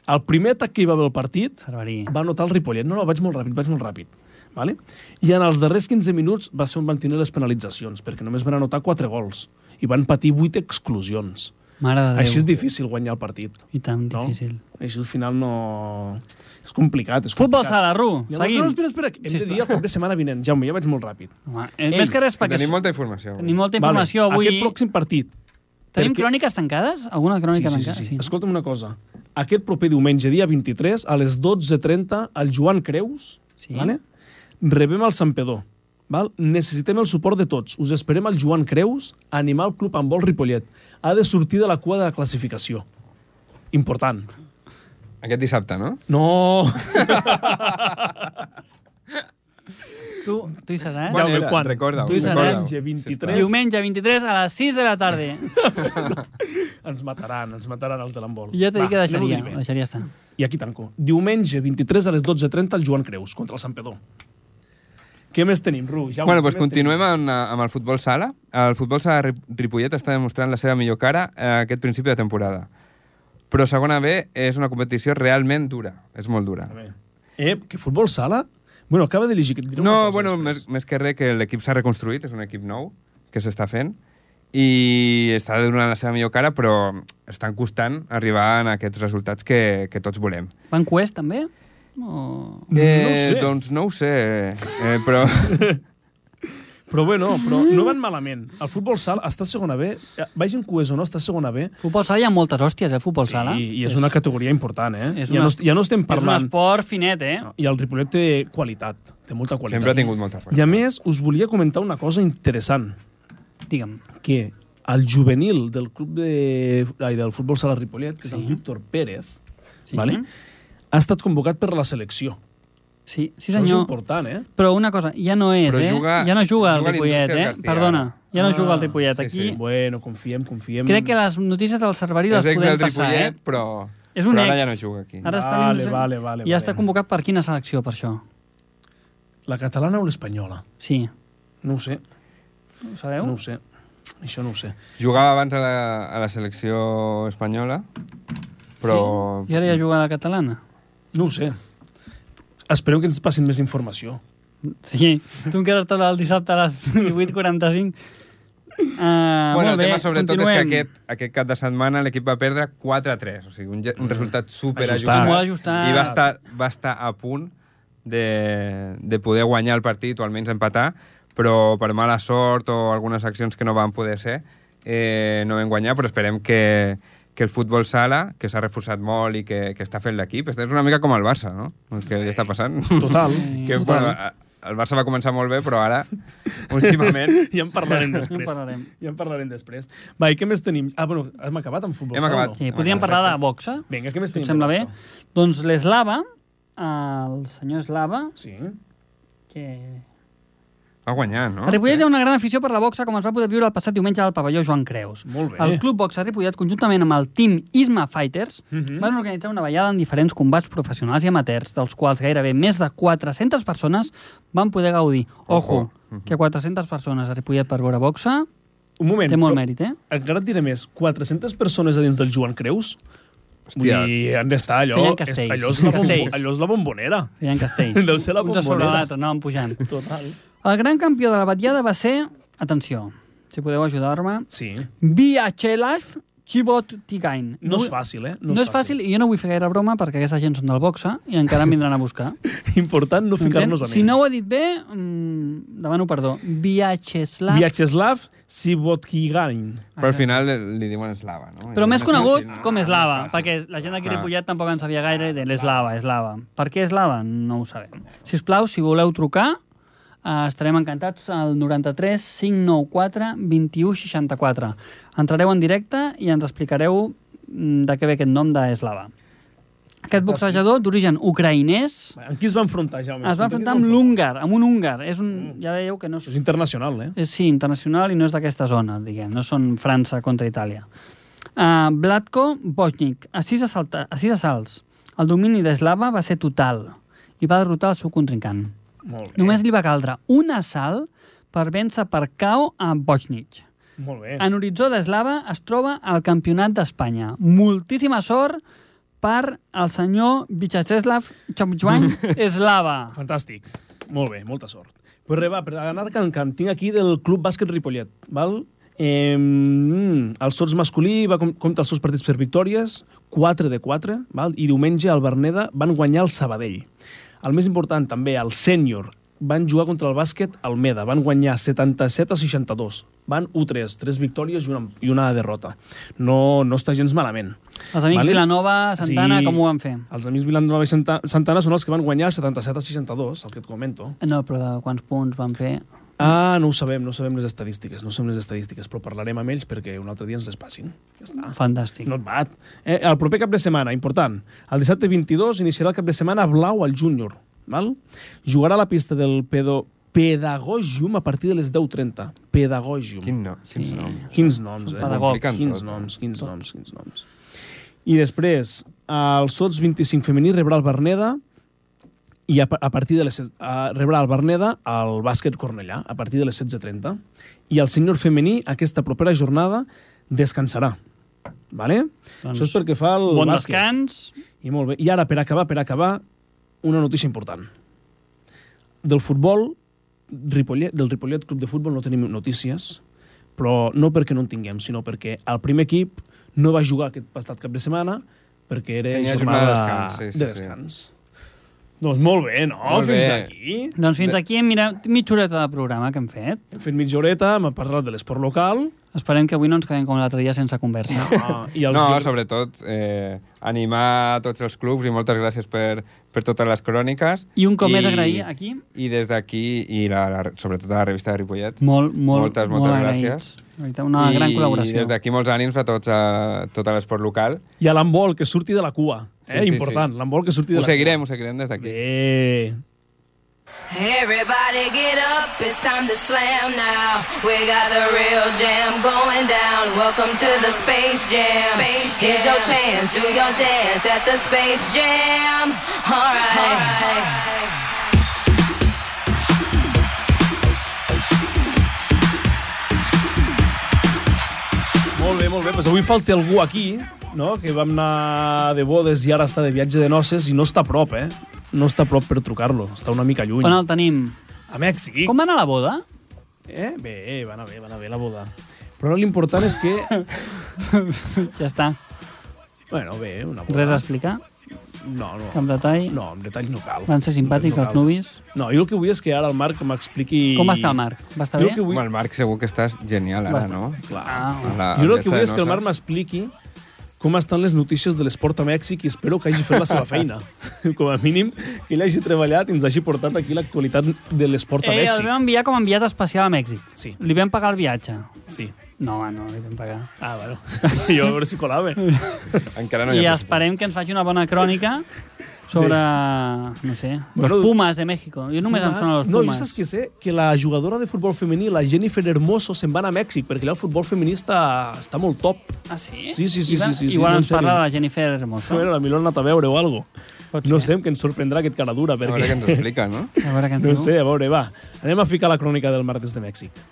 S1: El primer atac que hi va haver al partit
S2: Cerverí.
S1: va anotar el Ripollet. No, no, vaig molt ràpid, vaig molt ràpid. Vale? I en els darrers 15 minuts va ser on van tenir les penalitzacions, perquè només van anotar 4 gols i van patir 8 exclusions.
S2: Mare de Déu.
S1: Així és difícil guanyar el partit.
S2: I tan
S1: No?
S2: difícil.
S1: Així al final no... És complicat, és
S2: Futbol
S1: complicat.
S2: sala, Ru.
S1: Llavors,
S2: Seguim.
S1: No, espera, espera, que hem de dir el cap de setmana vinent. Jaume, ja vaig molt ràpid.
S2: Home, eh, més que res perquè
S3: Tenim molta informació. eh,
S2: tenim molta informació
S1: vale.
S2: avui.
S1: Aquest pròxim partit.
S2: Tenim
S1: perquè-
S2: cròniques tancades? Alguna
S1: sí,
S2: crònica
S1: sí,
S2: tancada?
S1: sí, sí.
S2: no?
S1: Escolta'm una cosa. Aquest proper diumenge, dia 23, a les 12.30, el Joan Creus, sí.
S2: Sí.
S1: vale? rebem el Santpedor. Val? Necessitem el suport de tots. Us esperem al Joan Creus a animar el club amb vol Ripollet. Ha de sortir de la cua de la classificació. Important.
S3: Aquest dissabte, no?
S1: *laughs* No!
S2: Tu, tu hi seràs?
S3: Quan
S1: Jaume,
S3: era?
S1: quan?
S3: Recorda-ho.
S2: Tu hi seràs
S3: recorda-ho.
S1: diumenge 23.
S3: Sisplau.
S2: Diumenge 23 a les 6 de la tarda.
S1: *laughs* Ens mataran, ens mataran els de l'embol.
S2: Jo t'he dit que
S1: Va,
S2: deixaria,
S1: anem-ho
S2: ho
S1: a dir bé.
S2: deixaria estar.
S1: I aquí tanco. Diumenge 23 a les 12.30 el Joan Creus contra el Santpedor. Què més tenim, Ru? Jaume,
S3: Bueno,
S1: què
S3: doncs
S1: més
S3: continuem amb, amb el futbol sala. El futbol sala Rip- Ripollet està demostrant la seva millor cara eh, aquest principi de temporada. Però segona B és una competició realment dura. És molt dura.
S1: tenim? Eh, que futbol sala? Bueno, acaba de llegir que et diré una
S3: No,
S1: cosa
S3: bueno,
S1: després.
S3: més, més que res que l'equip s'ha reconstruït, és un equip nou que s'està fent i està donant la seva millor cara, però estan costant arribar en aquests resultats que, que tots volem.
S2: Van Quest, també? O...
S1: No ho sé.
S3: Doncs no ho sé, eh,
S2: *laughs*
S3: però
S1: Però bé, no, però no van malament. El futbol sala està a segona B, eh, vagin cues o no, està a segona B,
S2: Futbol sala hi ha moltes hòsties, eh, futbol sala.
S1: i, i és una categoria important, eh?
S2: és
S1: ja, no,
S2: una-
S1: est- ja no estem
S2: És un
S1: parlant...
S2: esport finet, eh?
S1: No, I el Ripollet té qualitat, té molta qualitat.
S3: sempre ha tingut molta
S1: I
S3: cosa.
S1: a més, us volia comentar una cosa interessant,
S2: Digue'm.
S1: que el juvenil del club de, ai, del futbol sala Ripollet, que és el Víctor Pérez,
S2: Sí.
S1: vale? ha estat convocat per la selecció.
S2: Sí, sí
S1: Això és
S2: senyor.
S1: important, eh?
S2: Però una cosa, ja no és,
S3: Però
S2: eh?
S3: juga-
S2: ja no juga el
S3: juga
S2: Ripollet, eh?
S3: l'Indústria García.
S2: Perdona, ja no
S1: Ah,
S2: juga el Ripollet.
S3: sí,
S2: Aquí
S3: sí.
S1: Bueno, confiem, confiem.
S2: crec que les notícies del Cerverí les
S3: És ex
S2: podem
S3: del
S2: passar, eh?
S3: Ripollet, però,
S2: És un
S3: però ara
S2: ex.
S3: ja no juga aquí.
S2: Ara està
S1: Vale,
S2: en-
S1: vale, vale,
S2: I
S1: vale.
S2: està convocat per quina selecció, per això?
S1: La catalana o l'espanyola?
S2: Sí.
S1: No ho sé,
S2: Ho sabeu?
S1: no ho sé. Això no ho sé.
S3: Jugava abans a la, a la selecció espanyola, però...
S2: I ara ja juga a la catalana.
S1: No ho sé. Espereu que ens passin més informació.
S3: *laughs*
S2: Sí, tu encara estàs el dissabte a les 18.45. Uh,
S3: bueno,
S2: molt
S3: el
S2: bé,
S3: tema sobretot
S2: continuem.
S3: és que aquest, aquest cap de setmana l'equip va perdre 4-3, o sigui, un, ge- un resultat super
S1: Ajustat.
S2: Molt Mm. ajustat.
S3: I va estar, va estar a punt de, de poder guanyar el partit o almenys empatar, però per mala sort o algunes accions que no van poder ser, eh, no vam guanyar, però esperem que, que el futbol sala, que s'ha reforçat molt i que, que està fent l'equip, és una mica com el Barça, no? El que li està passant.
S2: *laughs*
S1: Total.
S3: que, bueno, a- el Barça va començar molt bé, però ara, últimament,
S1: Ja en
S2: *laughs*
S1: parlarem després.
S2: En parlarem.
S1: Ja en parlarem després. Va, i què més tenim? Ah, bueno, hem acabat amb futbol.
S3: Hem
S1: sala,
S3: acabat.
S1: No?
S2: Sí, podríem parlar de boxa?
S1: Vinga, què més
S2: Si
S1: tenim?
S2: et sembla
S1: de
S2: bé?
S1: boxa?
S2: Doncs l'Eslava, el senyor Eslava,
S1: Sí.
S2: que...
S3: va guanyar, no?
S2: A Ripollet hi ha una gran afició per la boxa, com es va poder viure el passat diumenge al pavelló Joan Creus.
S1: Molt bé.
S2: El Club Boxa Ripollet, conjuntament amb el Team Isma Fighters,
S1: Mhm.
S2: van organitzar una ballada en diferents combats professionals i amateurs, dels quals gairebé més de 400 persones van poder gaudir. Ojo,
S3: Ojo.
S1: Mhm.
S2: que 400 persones a Ripollet per veure boxa
S1: Un moment.
S2: té molt
S1: però
S2: mèrit, eh?
S1: Encara et diré més. 400 persones a dins del Joan Creus Vull
S3: Hòstia,
S1: dir, han d'estar allò... és-
S2: Feien castells.
S1: Allò és la, bombo,
S2: Castells.
S1: allò és la bombonera.
S2: Feien castells.
S1: *laughs* Deu ser la
S2: Un sobre
S1: bombonera.
S2: l'altre, anàvem pujant.
S1: Total.
S2: El gran campió de la batllada va ser... Atenció, si podeu ajudar-me.
S1: Sí.
S2: Vyacheslav Chibot Tigain.
S1: No és
S2: vull-
S1: fàcil, eh?
S2: No, és fàcil i jo no vull fer gaire broma perquè aquesta gent són del boxa i encara em vindran a buscar.
S1: *laughs* Important no ficar-nos en
S2: si no ho he dit bé, mm, demano perdó. Vyacheslav...
S1: Vyacheslav Sibotkigain.
S3: però al final li diuen eslava, no?
S2: Però més
S3: No sé
S2: conegut
S3: si-
S2: com eslava,
S3: no, Ah.
S2: perquè la gent d'aquí a
S3: Clar.
S2: Ripollet tampoc en sabia gaire de l'eslava, eslava. Per què eslava? No ho sabem. Si us plau, si voleu trucar, eh, estarem encantats al 93 594 21 64. Entrareu en directe i ens explicareu mm, de què ve aquest nom d'eslava. Aquest boxejador d'origen ucraïnès
S1: En qui es va enfrontar, Jaume?
S2: es va enfrontar
S1: doncs,
S2: amb l'húngar, amb un húngar. És un, ja veieu que no és
S1: És internacional, eh?
S2: Eh, Sí, internacional i no és d'aquesta zona, diguem. No són França contra Itàlia. Uh, Blatko Bojnik, a sis, assalta, a sis assalts. El domini d'Eslava va ser total i va derrotar el seu contrincant.
S1: Molt bé.
S2: Només li va caldre un assalt per vèncer per cau a Bojnik.
S1: Molt bé.
S2: En horitzó d'Eslava es troba el Campionat d'Espanya. Moltíssima sort per al senyor Vyacheslav Chomchuan
S1: *laughs*
S2: Eslava.
S1: Fantàstic. Molt bé, molta sort. Pues res, va, per anar cancant, tinc aquí del Club Bàsquet Ripollet, val? Eh, el Sorts masculí va com, compta els seus partits per victòries, 4 de 4, val? i diumenge al Berneda van guanyar el Sabadell. El més important també, el sènior, van jugar contra el bàsquet Almeda, van guanyar 77 a 62, van 1-3, 3 victòries i una, i una derrota. No, no està gens malament.
S2: Els amics
S1: Vale.
S2: Vilanova, Santana,
S1: Sí.
S2: com ho van fer?
S1: Els amics Vilanova i Santa- Santana són els que van guanyar 77 a 62, el que et comento.
S2: No, però de quants punts van fer?
S1: Ah, no ho sabem, no sabem les estadístiques, no sabem les estadístiques, però parlarem amb ells perquè un altre dia ens les passin. Ja està.
S2: Fantàstic.
S1: No et bat. Eh, el proper cap de setmana, important, el dissabte 22 iniciarà el cap de setmana blau al júnior. Val? Jugarà a la pista del pedo Pedagogium a partir de les 10.30. Pedagogium.
S3: Quin no? Quins
S2: Sí.
S3: noms?
S1: Quins noms, eh?
S2: Són pedagogs.
S1: Quins
S3: Tot, eh?
S1: noms, quins noms, quins noms. I després, el Sots 25 femení rebrà el Berneda i a, pa- a partir de les... set- A, rebrà el Berneda al bàsquet Cornellà a partir de les 16.30. I el senyor femení, aquesta propera jornada, descansarà. Vale?
S2: Doncs,
S1: Això és perquè fa el
S2: Bon
S1: bàsquet.
S2: descans.
S1: I molt bé. I ara, per acabar, per acabar, una notícia important. Del futbol, Ripollet, del Ripollet Club de Futbol no tenim notícies, però no perquè no en tinguem, sinó perquè el primer equip no va jugar aquest passat cap de setmana perquè era
S3: Tenia
S1: jornada,
S3: jornada de descans, sí, sí,
S1: de
S3: sí.
S1: descans. Doncs molt bé, no?
S3: Molt
S1: Fins
S3: bé.
S1: aquí.
S2: Doncs fins
S3: De-
S2: aquí hem mirat mitja horeta de programa que hem fet.
S1: Hem fet mitja horeta, m'ha parlat de l'esport
S3: *laughs*
S1: local
S2: Esperem que avui no ens quedem com l'altre dia sense conversa.
S1: ah, i els...
S3: No,
S1: jor-
S3: sobretot eh, animar a tots els clubs i moltes gràcies per, per totes les cròniques.
S2: I un cop més agrair aquí.
S3: I des d'aquí, i la, la, sobretot a la revista de Ripollet.
S2: Molt, molt,
S3: Moltes,
S2: molt
S3: moltes
S2: agraïts.
S3: gràcies.
S2: De Veritat, una gran
S3: I
S2: col·laboració.
S3: des d'aquí molts ànims a tots a, tot l'esport local.
S1: I a l'embol, que surti de la cua. Eh?
S3: Sí, sí,
S1: Important, l'embol que surti de
S3: Ho
S1: la
S3: seguirem, ho seguirem des
S1: cua.
S3: d'aquí.
S1: Bé.
S5: Everybody get up, it's time to slam now. We got the real jam going down. Welcome to the Space Jam. Space jam. Here's your chance, do your dance at the Space Jam. Alright.
S1: Molt bé, molt bé. Pues avui falta algú aquí, no? que vam anar de bodes i ara està de viatge de noces i no està a prop, eh? No està a prop per trucar-lo, està una mica lluny.
S2: On el tenim?
S1: A Mèxic.
S2: Com va anar la boda?
S1: Eh? Bé, va anar bé, va anar bé la boda. Però ara l'important és
S2: *laughs*
S1: que...
S2: Ja està.
S1: bueno, bé, una boda.
S2: Res a explicar?
S1: No, no.
S2: Cap detall?
S1: No, amb detalls no cal.
S2: Van ser simpàtics
S1: No
S2: els
S1: cal.
S2: nuvis?
S1: No, jo el que vull és que ara el Marc m'expliqui...
S2: Com va estar el Marc? Va estar
S1: Jo
S2: bé?
S1: el que vull...
S3: Amb el Marc segur que estàs genial ara,
S2: Bastant.
S3: no?
S1: Clar.
S2: Ah,
S3: A la
S1: Jo el
S3: viatge
S1: que
S3: de
S1: vull és que el
S3: noces.
S1: Marc m'expliqui com estan les notícies de l'esport a Mèxic i espero que hagi fet la seva feina. com a mínim, que ell hagi treballat i ens hagi portat aquí l'actualitat de l'esport a
S2: Ei, Eh, el
S1: Mèxic.
S2: vam enviar com a enviat especial a Mèxic.
S1: Sí,
S2: Li vam pagar el viatge.
S1: sí.
S2: No, home, no, li vam pagar.
S1: Ah, bueno. *laughs* jo a veure si colava.
S3: Encara no
S2: I
S3: hi ha...
S2: esperem que ens faci una bona crònica sobre, no sé,
S1: Bueno,
S2: los Pumas de México. Jo només em sona los
S1: no, jo
S2: Pumas.
S1: saps que sé que la jugadora de futbol femení, la Jennifer Hermoso, se'n va anar a Mèxic, perquè allà el futbol femení està, està molt top.
S2: Ah, sí?
S1: Sí, sí, sí, sí,
S2: Igual,
S1: sí, sí,
S2: igual
S1: no, en
S2: ens
S1: sèrio.
S2: parla de la Jennifer Hermoso.
S1: A veure, potser l'ha anat a veure o algo.
S2: Ah. Pot
S1: No
S2: ser.
S1: sé, que ens sorprendrà aquest cara dura,
S3: A veure
S1: perquè...
S3: què ens explica, no?
S2: A veure què ens
S1: *laughs* No
S2: diu.
S1: sé, a veure, va. Anem a ficar la crònica del martes de Mèxic.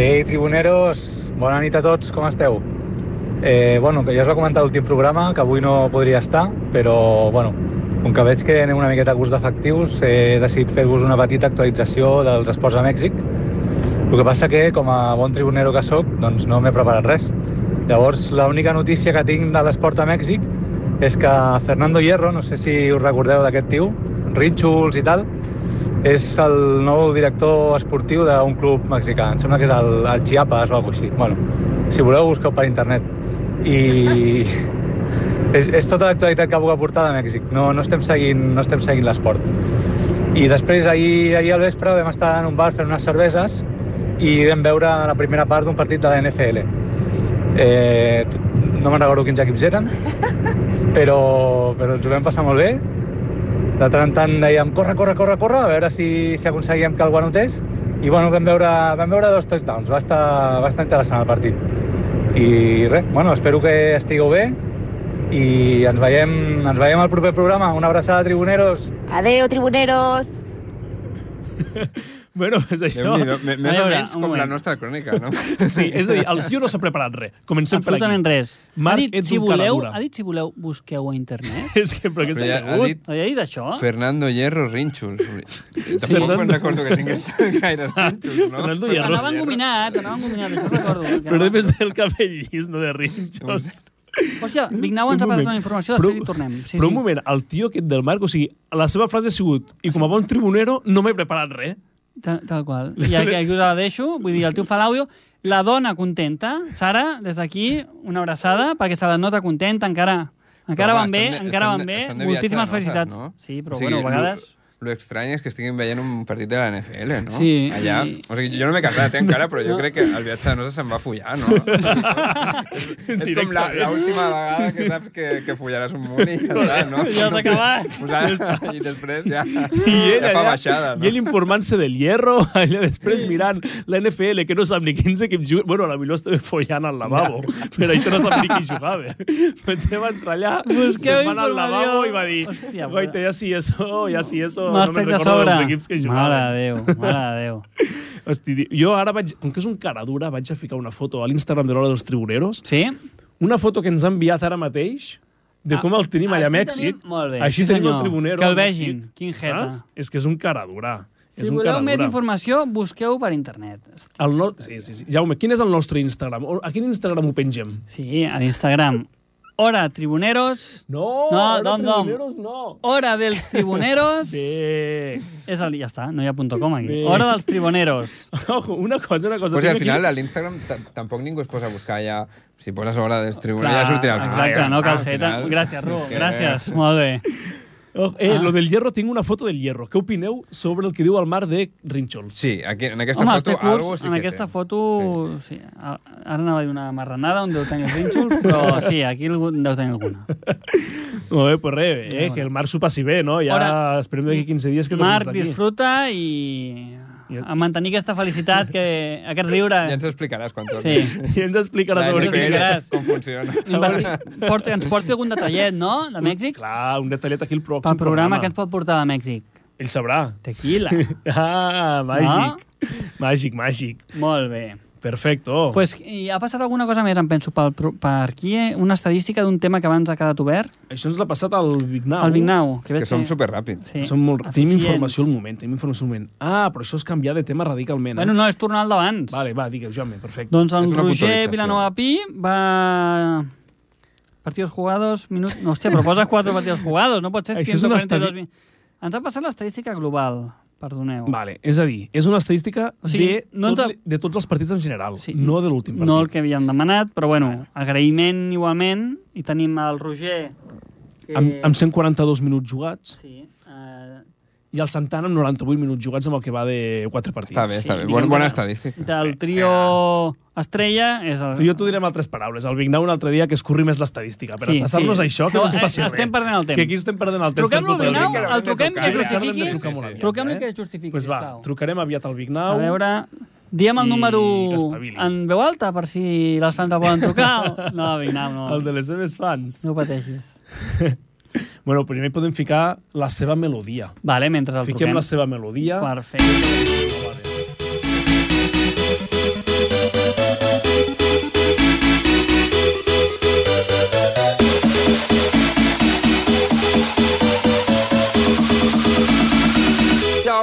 S6: Ei, tribuneros, bona nit a tots, com esteu? Eh, bueno, que ja us va comentar l'últim programa, que avui no podria estar, però bueno, com que veig que anem una miqueta a gust d'efectius, he decidit fer-vos una petita actualització dels esports a Mèxic. El que passa que, com a bon tribunero que sóc, doncs no m'he preparat res. Llavors, l'única notícia que tinc de l'esport a Mèxic és que Fernando Hierro, no sé si us recordeu d'aquest tio, Rinxuls i tal, és el nou director esportiu d'un club mexicà. Em sembla que és el, el Chiapas o alguna cosa així. Bueno, si voleu, busqueu per internet. I *laughs* és, és tota l'actualitat que puc aportar de Mèxic. No, no estem seguint, no estem seguint l'esport. I després, ahir, ahir al vespre, vam estar en un bar fent unes cerveses i vam veure la primera part d'un partit de la NFL. Eh, no me'n recordo quins equips eren, *laughs* però, però ens ho vam passar molt bé. De tant en tant dèiem, corre, corre, corre, corre, a veure si, si aconseguíem que el guanotés. I bueno, vam veure, vam veure dos touchdowns, va estar, va estar interessant el partit. I res, bueno, espero que estigueu bé i ens veiem, ens veiem al proper programa. Una abraçada, tribuneros.
S7: Adeu, tribuneros.
S1: Bueno, *laughs* és això.
S3: Déu-n'hi-do. Me- Més
S2: A
S3: o
S2: veure,
S3: menys
S2: un
S3: com la
S2: moment.
S3: nostra crònica, no?
S1: *laughs* Sí, és a dir, el tio no s'ha preparat res. Comencem per aquí.
S2: Absolutament res.
S1: Marc,
S2: ha dit,
S1: ets
S2: si
S1: un
S2: voleu,
S1: caladura.
S2: ha dit, si voleu, busqueu a internet.
S1: *laughs* És que, però què s'ha
S3: Però ja ha
S1: cregut?
S3: dit-
S2: Ha dit això?
S3: Fernando Hierro Rínxols. Tampoc
S1: Fernando-
S3: me'n recordo que tingués gaires rínxols, no?
S1: Fernando
S2: Però
S1: Hierro.
S2: Anaven combinat, anaven combinat, això ho recordo. que
S1: Però
S2: anaven-
S1: només té el cabell llis, no de rinxos.
S2: Hòstia, Vignau Ah, ens
S1: Un
S2: ha passat
S1: moment.
S2: una informació,
S1: Però-
S2: després hi tornem. Sí,
S1: Però un
S2: sí.
S1: moment, el tio aquest del Marc, o sigui, la seva frase ha sigut i com a bon tribunero no m'he preparat res.
S2: Tal, tal qual. I aquí, aquí us la deixo, vull dir, el tio fa l'àudio. La dona contenta, Sara, des d'aquí, una abraçada, perquè se la nota contenta encara. Encara
S3: Però,
S2: van
S3: home,
S2: bé,
S3: estan de-
S2: encara
S3: estan
S2: van
S3: de-
S2: bé.
S3: estan de viatge,
S2: Moltíssimes
S3: no?
S2: felicitats.
S3: Saps, no?
S2: Sí, però
S3: O sigui,
S2: bueno, a vegades...
S3: Lo, lo estrany és que estiguin veient un partit de la NFL, no?
S2: Sí,
S3: Allà.
S2: i-
S3: O sigui, jo no m'he casat eh, encara, però jo crec que el viatge de noces se'n va follar, no? és com la- l'última vegada que saps que, que follaràs un munt i ja està, no?
S2: Ja has
S3: *laughs*
S2: acabat.
S3: Posar, I després ja,
S1: I ell,
S3: ja Mm. fa
S1: allà,
S3: baixada, no?
S1: i ell informant-se del hierro, *laughs* allà després mirant la NFL, que no sap ni quins equips juguen. Bueno, a la millor estava follant al
S3: *laughs*
S1: lavabo, però això no sap ni qui *laughs* jugava. Potser va entrar allà, se'n va anar al
S2: informació.
S1: lavabo i va dir
S2: Hòstia,
S1: Goita, ja sí, eso, ja sí, eso, no,
S2: M'has
S1: no me'n
S2: tret de
S1: recordo
S2: sobre.
S1: dels equips que
S2: Mare
S3: eh?
S1: jugaven.
S2: de Déu, mare de Déu.
S1: Hosti, di- jo ara vaig, com que és un cara dura, vaig a ficar una foto a l'Instagram de l'Hora dels Tribuneros,
S2: Sí?
S1: una foto que ens ha enviat ara mateix de com el tenim allà a
S2: Ah, aquí
S1: Mèxic.
S2: tenim- Molt bé,
S1: Així
S2: sí,
S1: tenim el
S2: senyor.
S1: tribunero.
S2: Que el
S1: a Mèxic,
S2: vegin, quin jeta.
S1: saps? És que és un cara dura.
S2: Si
S1: és un
S2: voleu
S1: cara
S2: més
S1: dura.
S2: informació, busqueu per internet.
S1: El no... sí, sí, sí. Jaume, quin és el nostre Instagram? O- A quin Instagram ho pengem?
S2: Sí, a l'Instagram. Hora Tribuneros,
S1: No,
S2: No,
S1: ara
S2: Dom, Dom.
S1: Tribuneros no.
S2: Hora dels Tribuneros...
S1: Bé. *laughs*
S2: És el, ja està, no hi ha punto com aquí.
S1: Bé.
S2: Hora dels Tribuneros.
S1: Ojo, una cosa, una cosa.
S3: O sigui,
S1: Tinc
S3: al
S1: aquí-
S3: final a l'Instagram ta- tampoc ningú es posa a buscar ja... Si poses hora del tribunal
S2: Clar,
S3: ja sortirà el
S2: Exacte, no cal ser tan...
S3: calceta.
S2: Gràcies, Ru, gràcies, molt bé.
S1: Oh, eh,
S2: Ah.
S1: lo del hierro, tinc una foto del hierro. Què opineu sobre el que diu el mar de Rinxols?
S3: Sí, aquí, en aquesta
S2: Home,
S3: foto
S2: este
S3: algo
S2: curs,
S3: sí
S2: en
S3: que
S2: aquesta
S3: té.
S2: foto... Sí. a- Ara anava a dir una marranada on deu tenir els rínxols, però sí, aquí algú- en deu tenir alguna.
S1: No, eh, pues res, eh,
S2: bueno.
S1: que el mar s'ho passi bé, no? Ja
S2: Ara-
S1: esperem d'aquí 15 dies que tornis
S2: Marc,
S1: d'aquí.
S2: disfruta i
S1: Ja-
S2: a mantenir aquesta felicitat, que, aquest riure... *laughs*
S3: Ja ens explicaràs quan
S2: Sí.
S3: tornis.
S1: I ens explicaràs
S3: La
S1: sobre
S2: què
S1: què
S3: NFL,
S2: diràs. *laughs*
S3: com funciona.
S2: Investi... Porta, ens porti algun detallet, no?, de Mèxic?
S1: Clar, un detallet aquí al pròxim
S2: Pel programa que ens pot portar de Mèxic.
S1: Ell sabrà. *laughs*
S2: Tequila.
S1: Ah, màgic. Màgic, màgic.
S2: Molt bé.
S1: Perfecto.
S2: Pues, i ha passat alguna cosa més, em penso, pel, pro- per aquí, eh? una estadística d'un tema que abans ha quedat obert,
S1: Això ens l'ha passat al Vignau.
S2: el Vignau.
S3: És que
S2: veig
S3: som superràpids.
S2: Sí.
S1: Som molt... Tenim
S2: Eficients.
S1: informació al moment, tenim informació al moment. Ah, però això és canviar de tema radicalment. Eh?
S2: Bueno, no, és tornar al d'abans.
S1: Vale, va, digueu, Jaume, perfecte.
S2: Doncs el
S3: És una
S2: Roger
S3: puntualització.
S2: Vilanova Pi va... Partidos jugados, minuts... No, hòstia, però posa 4 partidos jugados, no pot ser
S1: Això és una
S2: 142 min- Ens ha passat l'estadística global, perdoneu.
S1: Vale, és a dir, és una estadística
S2: O sigui,
S1: de,
S2: no ens
S1: tot,
S2: ha-
S1: de tots els partits en general,
S2: Sí.
S1: no de l'últim partit.
S2: No el que havíem demanat, però bueno, agraïment igualment. I tenim el Roger... Que...
S1: amb, amb 142 minuts jugats
S2: Sí, eh,
S1: i el Santana amb 98 minuts jugats amb el que va de 4 partits.
S3: Està bé, està bé.
S2: diguem
S3: Bona,
S2: que
S3: bona
S2: no.
S3: estadística.
S2: del trio Estrella és el...
S1: Eh, Tu, jo t'ho diré amb altres paraules. El Vignau un altre dia que escorri més l'estadística. Per
S2: Sí,
S1: sí, passar-nos
S2: sí.
S1: sí. això, que
S2: No,
S1: no, ens passi
S2: eh,
S1: res.
S2: estem perdent el temps.
S1: Que aquí estem perdent el temps. per
S2: Truquem-lo,
S1: culpa del
S2: Vignau,
S3: Vignau,
S2: el truquem
S3: que
S2: que
S1: Ara
S3: l'hauríem
S1: l'hem
S2: justifiqui.
S3: de trucar,
S1: de trucar molt aviat,
S3: Sí, sí,
S2: Truquem-lo
S1: eh?
S2: que justifiqui,
S1: Pues va,
S2: sisplau.
S1: trucarem aviat al Vignau.
S2: A veure... Diem el
S1: I
S2: número
S1: que espavili.
S2: en veu alta, per si les fans el poden
S1: *laughs*
S2: trucar. No, Vignau,
S1: El
S2: no.
S1: de les seves fans.
S2: No pateixis.
S1: Bueno, primer podem ficar la seva melodia.
S2: Vale, mentre el
S1: Fiquem
S2: truquem.
S1: la seva melodia.
S2: Perfecte.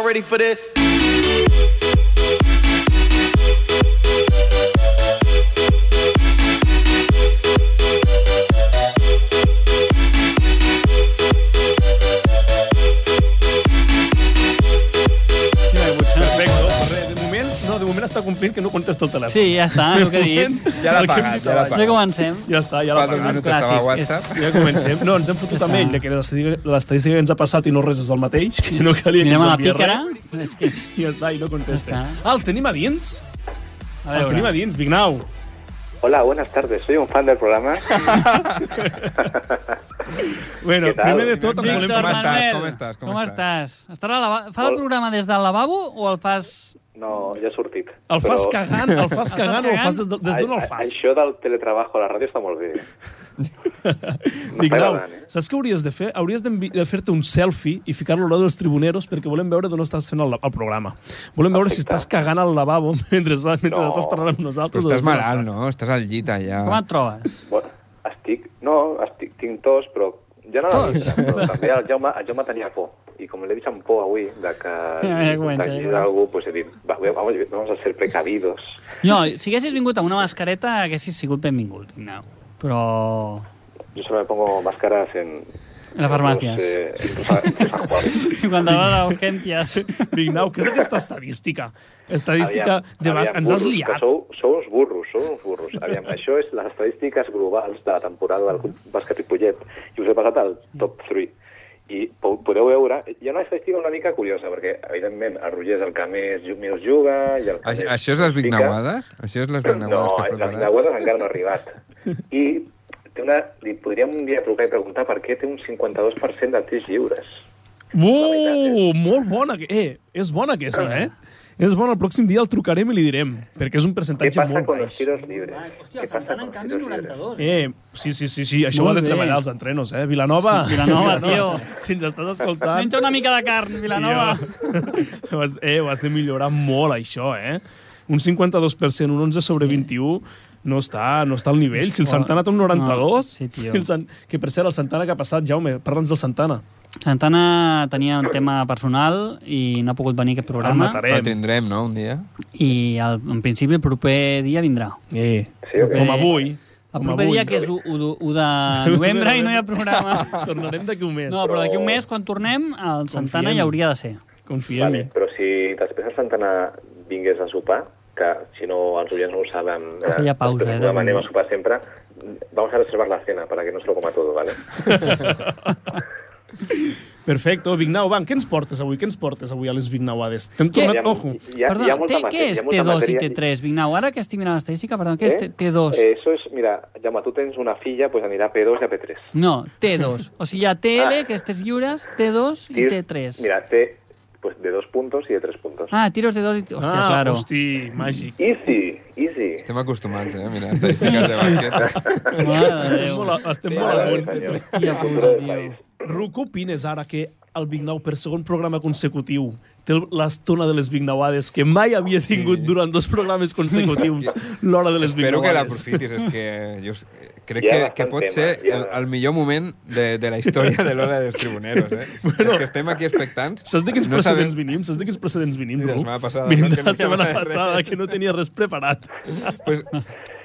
S7: ready for this?
S1: Perfecto, Ferrer. De moment, no, de moment està complint que no contesto el telèfon.
S2: Sí, ja està, és el que he dit.
S3: Ja l'ha pagat, ja l'ha
S2: Ja
S3: pagat.
S2: comencem.
S1: Ja està, ja
S3: Fa
S1: l'ha
S3: dos
S1: pagat.
S3: minuts estava a
S2: clàssic,
S3: WhatsApp.
S1: Ja comencem. No, ens hem fotut
S2: Ja
S1: amb
S2: està.
S1: ell, ja que l'estadística l'estadística que ens ha passat i no res és el mateix, que no calia que
S2: Anirem a
S1: ens
S2: la
S1: enviés
S2: pícara.
S1: res.
S2: És que,
S1: I ja està, i no contesta.
S2: Ja
S1: Ah, el tenim a dins?
S2: a
S1: El tenim a
S2: veure,
S1: dins, Vignau.
S8: Hola, buenas tardes. Soy un fan del programa.
S1: Bueno,
S8: Què tal?
S1: primer de tot ens volem...
S2: Víctor
S3: Com estàs?
S2: Manuel,
S3: Com estàs? Com
S2: Com
S3: estàs?
S2: estàs? Estàs al lava- Fa el
S8: Molt.
S2: programa des del lavabo o el fas...
S8: No, ja he
S2: *laughs*
S8: sortit.
S1: El fas cagant, el fas
S2: El fas
S1: cagant o el
S2: cagant?
S1: fas des, de- des d'on el
S8: A- a-
S1: fas?
S8: Això del teletrabajo a la ràdio està molt bé.
S1: Vignau,
S8: agradant, eh?
S1: saps què hauries de fer? Hauries d'envi- de fer-te un selfie i ficar-lo al lado dels tribuneros perquè volem veure d'on estàs fent el, la- el programa. Volem veure si
S8: Perfecte.
S1: estàs cagant al lavabo *laughs* mentre, va- mentre
S8: No.
S1: estàs parlant amb nosaltres. o
S3: Però estàs
S1: des d'on
S3: malalt, no? Estàs al llit allà.
S2: Com et trobes?
S8: Bueno, estic... No, estic, tinc tos, però ja no la vista, però també el Jaume, el Jaume tenia por. I com l'he vist amb por avui, de que...
S2: *laughs* Ja, ja comença,
S8: de que
S2: ja.
S8: algú, pues he dit, va, vamos, vamos a ser precavidos.
S2: No, si haguessis vingut amb una mascareta, haguessis sigut benvingut, Vignau. Però... *laughs*
S8: Yo solo me pongo máscaras en...
S2: En las farmacias.
S8: Pues, eh, en tus- en tus ajuares.
S2: Quan te vas a urgències...
S1: Vignau, què és aquesta estadística? Estadística
S8: Aviam,
S1: de bas...
S8: aviam,
S1: Ens has
S8: burros, que
S1: liat.
S8: Sou, sou uns burros, sou uns burros. Aviam, això és les estadístiques globals de la temporada del bàsquet Ripollet i us he passat al top 3. I po- podeu veure, hi ha una estadística una mica curiosa, perquè, evidentment, el Roger és el que més, ju- més juga... I el que
S3: A-
S8: més
S3: Això és les
S8: fica.
S3: vignauades? Això és les vignauades
S8: No,
S3: que has
S8: les
S3: preparat?
S8: vinagüades encara no ha arribat. I té una, li podríem un dia trucar i preguntar per què té un 52% de tirs lliures.
S1: Uh, molt bona. Eh, és bona aquesta, eh? És bona. El pròxim dia el trucarem i li direm, perquè és un
S8: Què
S1: percentatge
S8: passa
S1: molt
S8: con los
S1: baix.
S8: tiros libres? Què passa con los tiros libres?
S1: Eh, sí, sí, sí, sí. això ho
S2: Molt
S1: ha de
S2: bé.
S1: treballar els entrenos, eh? Vilanova. *laughs*
S2: Vilanova, tio.
S1: Si ens estàs escoltant...
S2: Menja una mica de carn, Vilanova.
S1: Tio, *laughs* Ho has, eh, ho has de millorar molt, això, eh? Un 52%, un 11 sobre 21, no està, no està al nivell. Si el Santana té un 92... *laughs*
S2: eh? No, sí, tio.
S1: el Sant... Que, per cert, el Santana que ha passat, Jaume, parla'ns del Santana.
S2: Santana tenia un tema personal i no ha pogut venir a aquest
S1: El
S2: programa.
S1: matarem.
S3: El tindrem, no, un dia?
S2: I el, en principi el proper dia vindrà.
S1: Eh,
S8: Sí, o què?
S1: com avui.
S2: El
S1: com
S2: proper
S1: avui.
S2: dia, que és 1, de- 1 de novembre i no hi ha programa.
S1: *laughs* Tornarem d'aquí un mes.
S2: No, però d'aquí un mes, quan tornem, el
S1: Confiem.
S2: Santana hi hauria de ser.
S1: Confiem.
S8: Vale, però si després el Santana vingués a sopar, que si no els oients no ho saben,
S2: Aquella pausa,
S8: després
S2: eh,
S8: ho demanem
S2: també.
S8: a sopar sempre, vamos a reservar la cena para que no se lo coma todo, ¿vale?
S1: *laughs* Perfecto, Oh, Vignau, van, què ens portes avui? Què ens portes avui a les Vignauades? T'hem
S2: Què?
S1: tornat, ojo.
S8: ha- hi ha molta
S2: té,
S8: matèria-
S2: què
S8: hi
S2: és
S8: ha molta
S2: T2 i
S8: matèria-
S2: T3, Vignau? Ara que estic mirant l'estadística, perdó, què és T-
S8: Eh?
S2: T2?
S8: Eh, Eso es, mira, Jaume, tu tens una filla, pues anirà a P2 i a P3.
S2: No, T2. O sigui, hi ha TL,
S8: Ah.
S2: que és tres lliures, T2 i
S8: Tirs,
S2: T3.
S8: Mira, T, pues de dos puntos y de tres puntos.
S2: Ah, tiros de dos i... Hòstia,
S1: ah,
S2: claro.
S1: hosti, màgic.
S8: Easy, easy.
S3: Estem acostumats, eh? Mira, estadístiques de
S2: *laughs*
S3: bàsquet.
S2: Mare
S1: *laughs*
S2: de
S1: Estem
S2: Déu.
S1: molt, a- estem molt
S8: Mare de
S1: amunt.
S8: Senyor.
S2: Hòstia
S8: El
S2: puta,
S8: futuro del
S2: tio.
S8: país.
S1: Ru, què opines ara que el Vignau per segon programa consecutiu té l'estona de les Vignauades que mai havia tingut durant dos programes
S3: *laughs*
S1: consecutius l'hora de les
S3: Espero que
S1: Vignauades?
S3: l'aprofitis, és que jo s- eh, crec
S8: Hi ha
S3: que, que
S8: bastant
S3: pot
S8: tema,
S3: ser
S8: hi ha-
S3: el, el millor moment de, de la història de l'hora dels tribuneros,
S2: *laughs*
S3: eh? bueno, és que estem aquí expectants.
S1: Saps de quins
S3: no
S1: precedents
S3: sabem-
S1: venim? Saps de quins precedents venim,
S3: Sí, de la
S1: Ru?
S3: setmana passada,
S1: Venim
S3: no?
S1: de
S3: Que
S1: la
S3: no
S1: setmana
S3: sabia res.
S1: passada, que no tenia res preparat.
S3: Pues,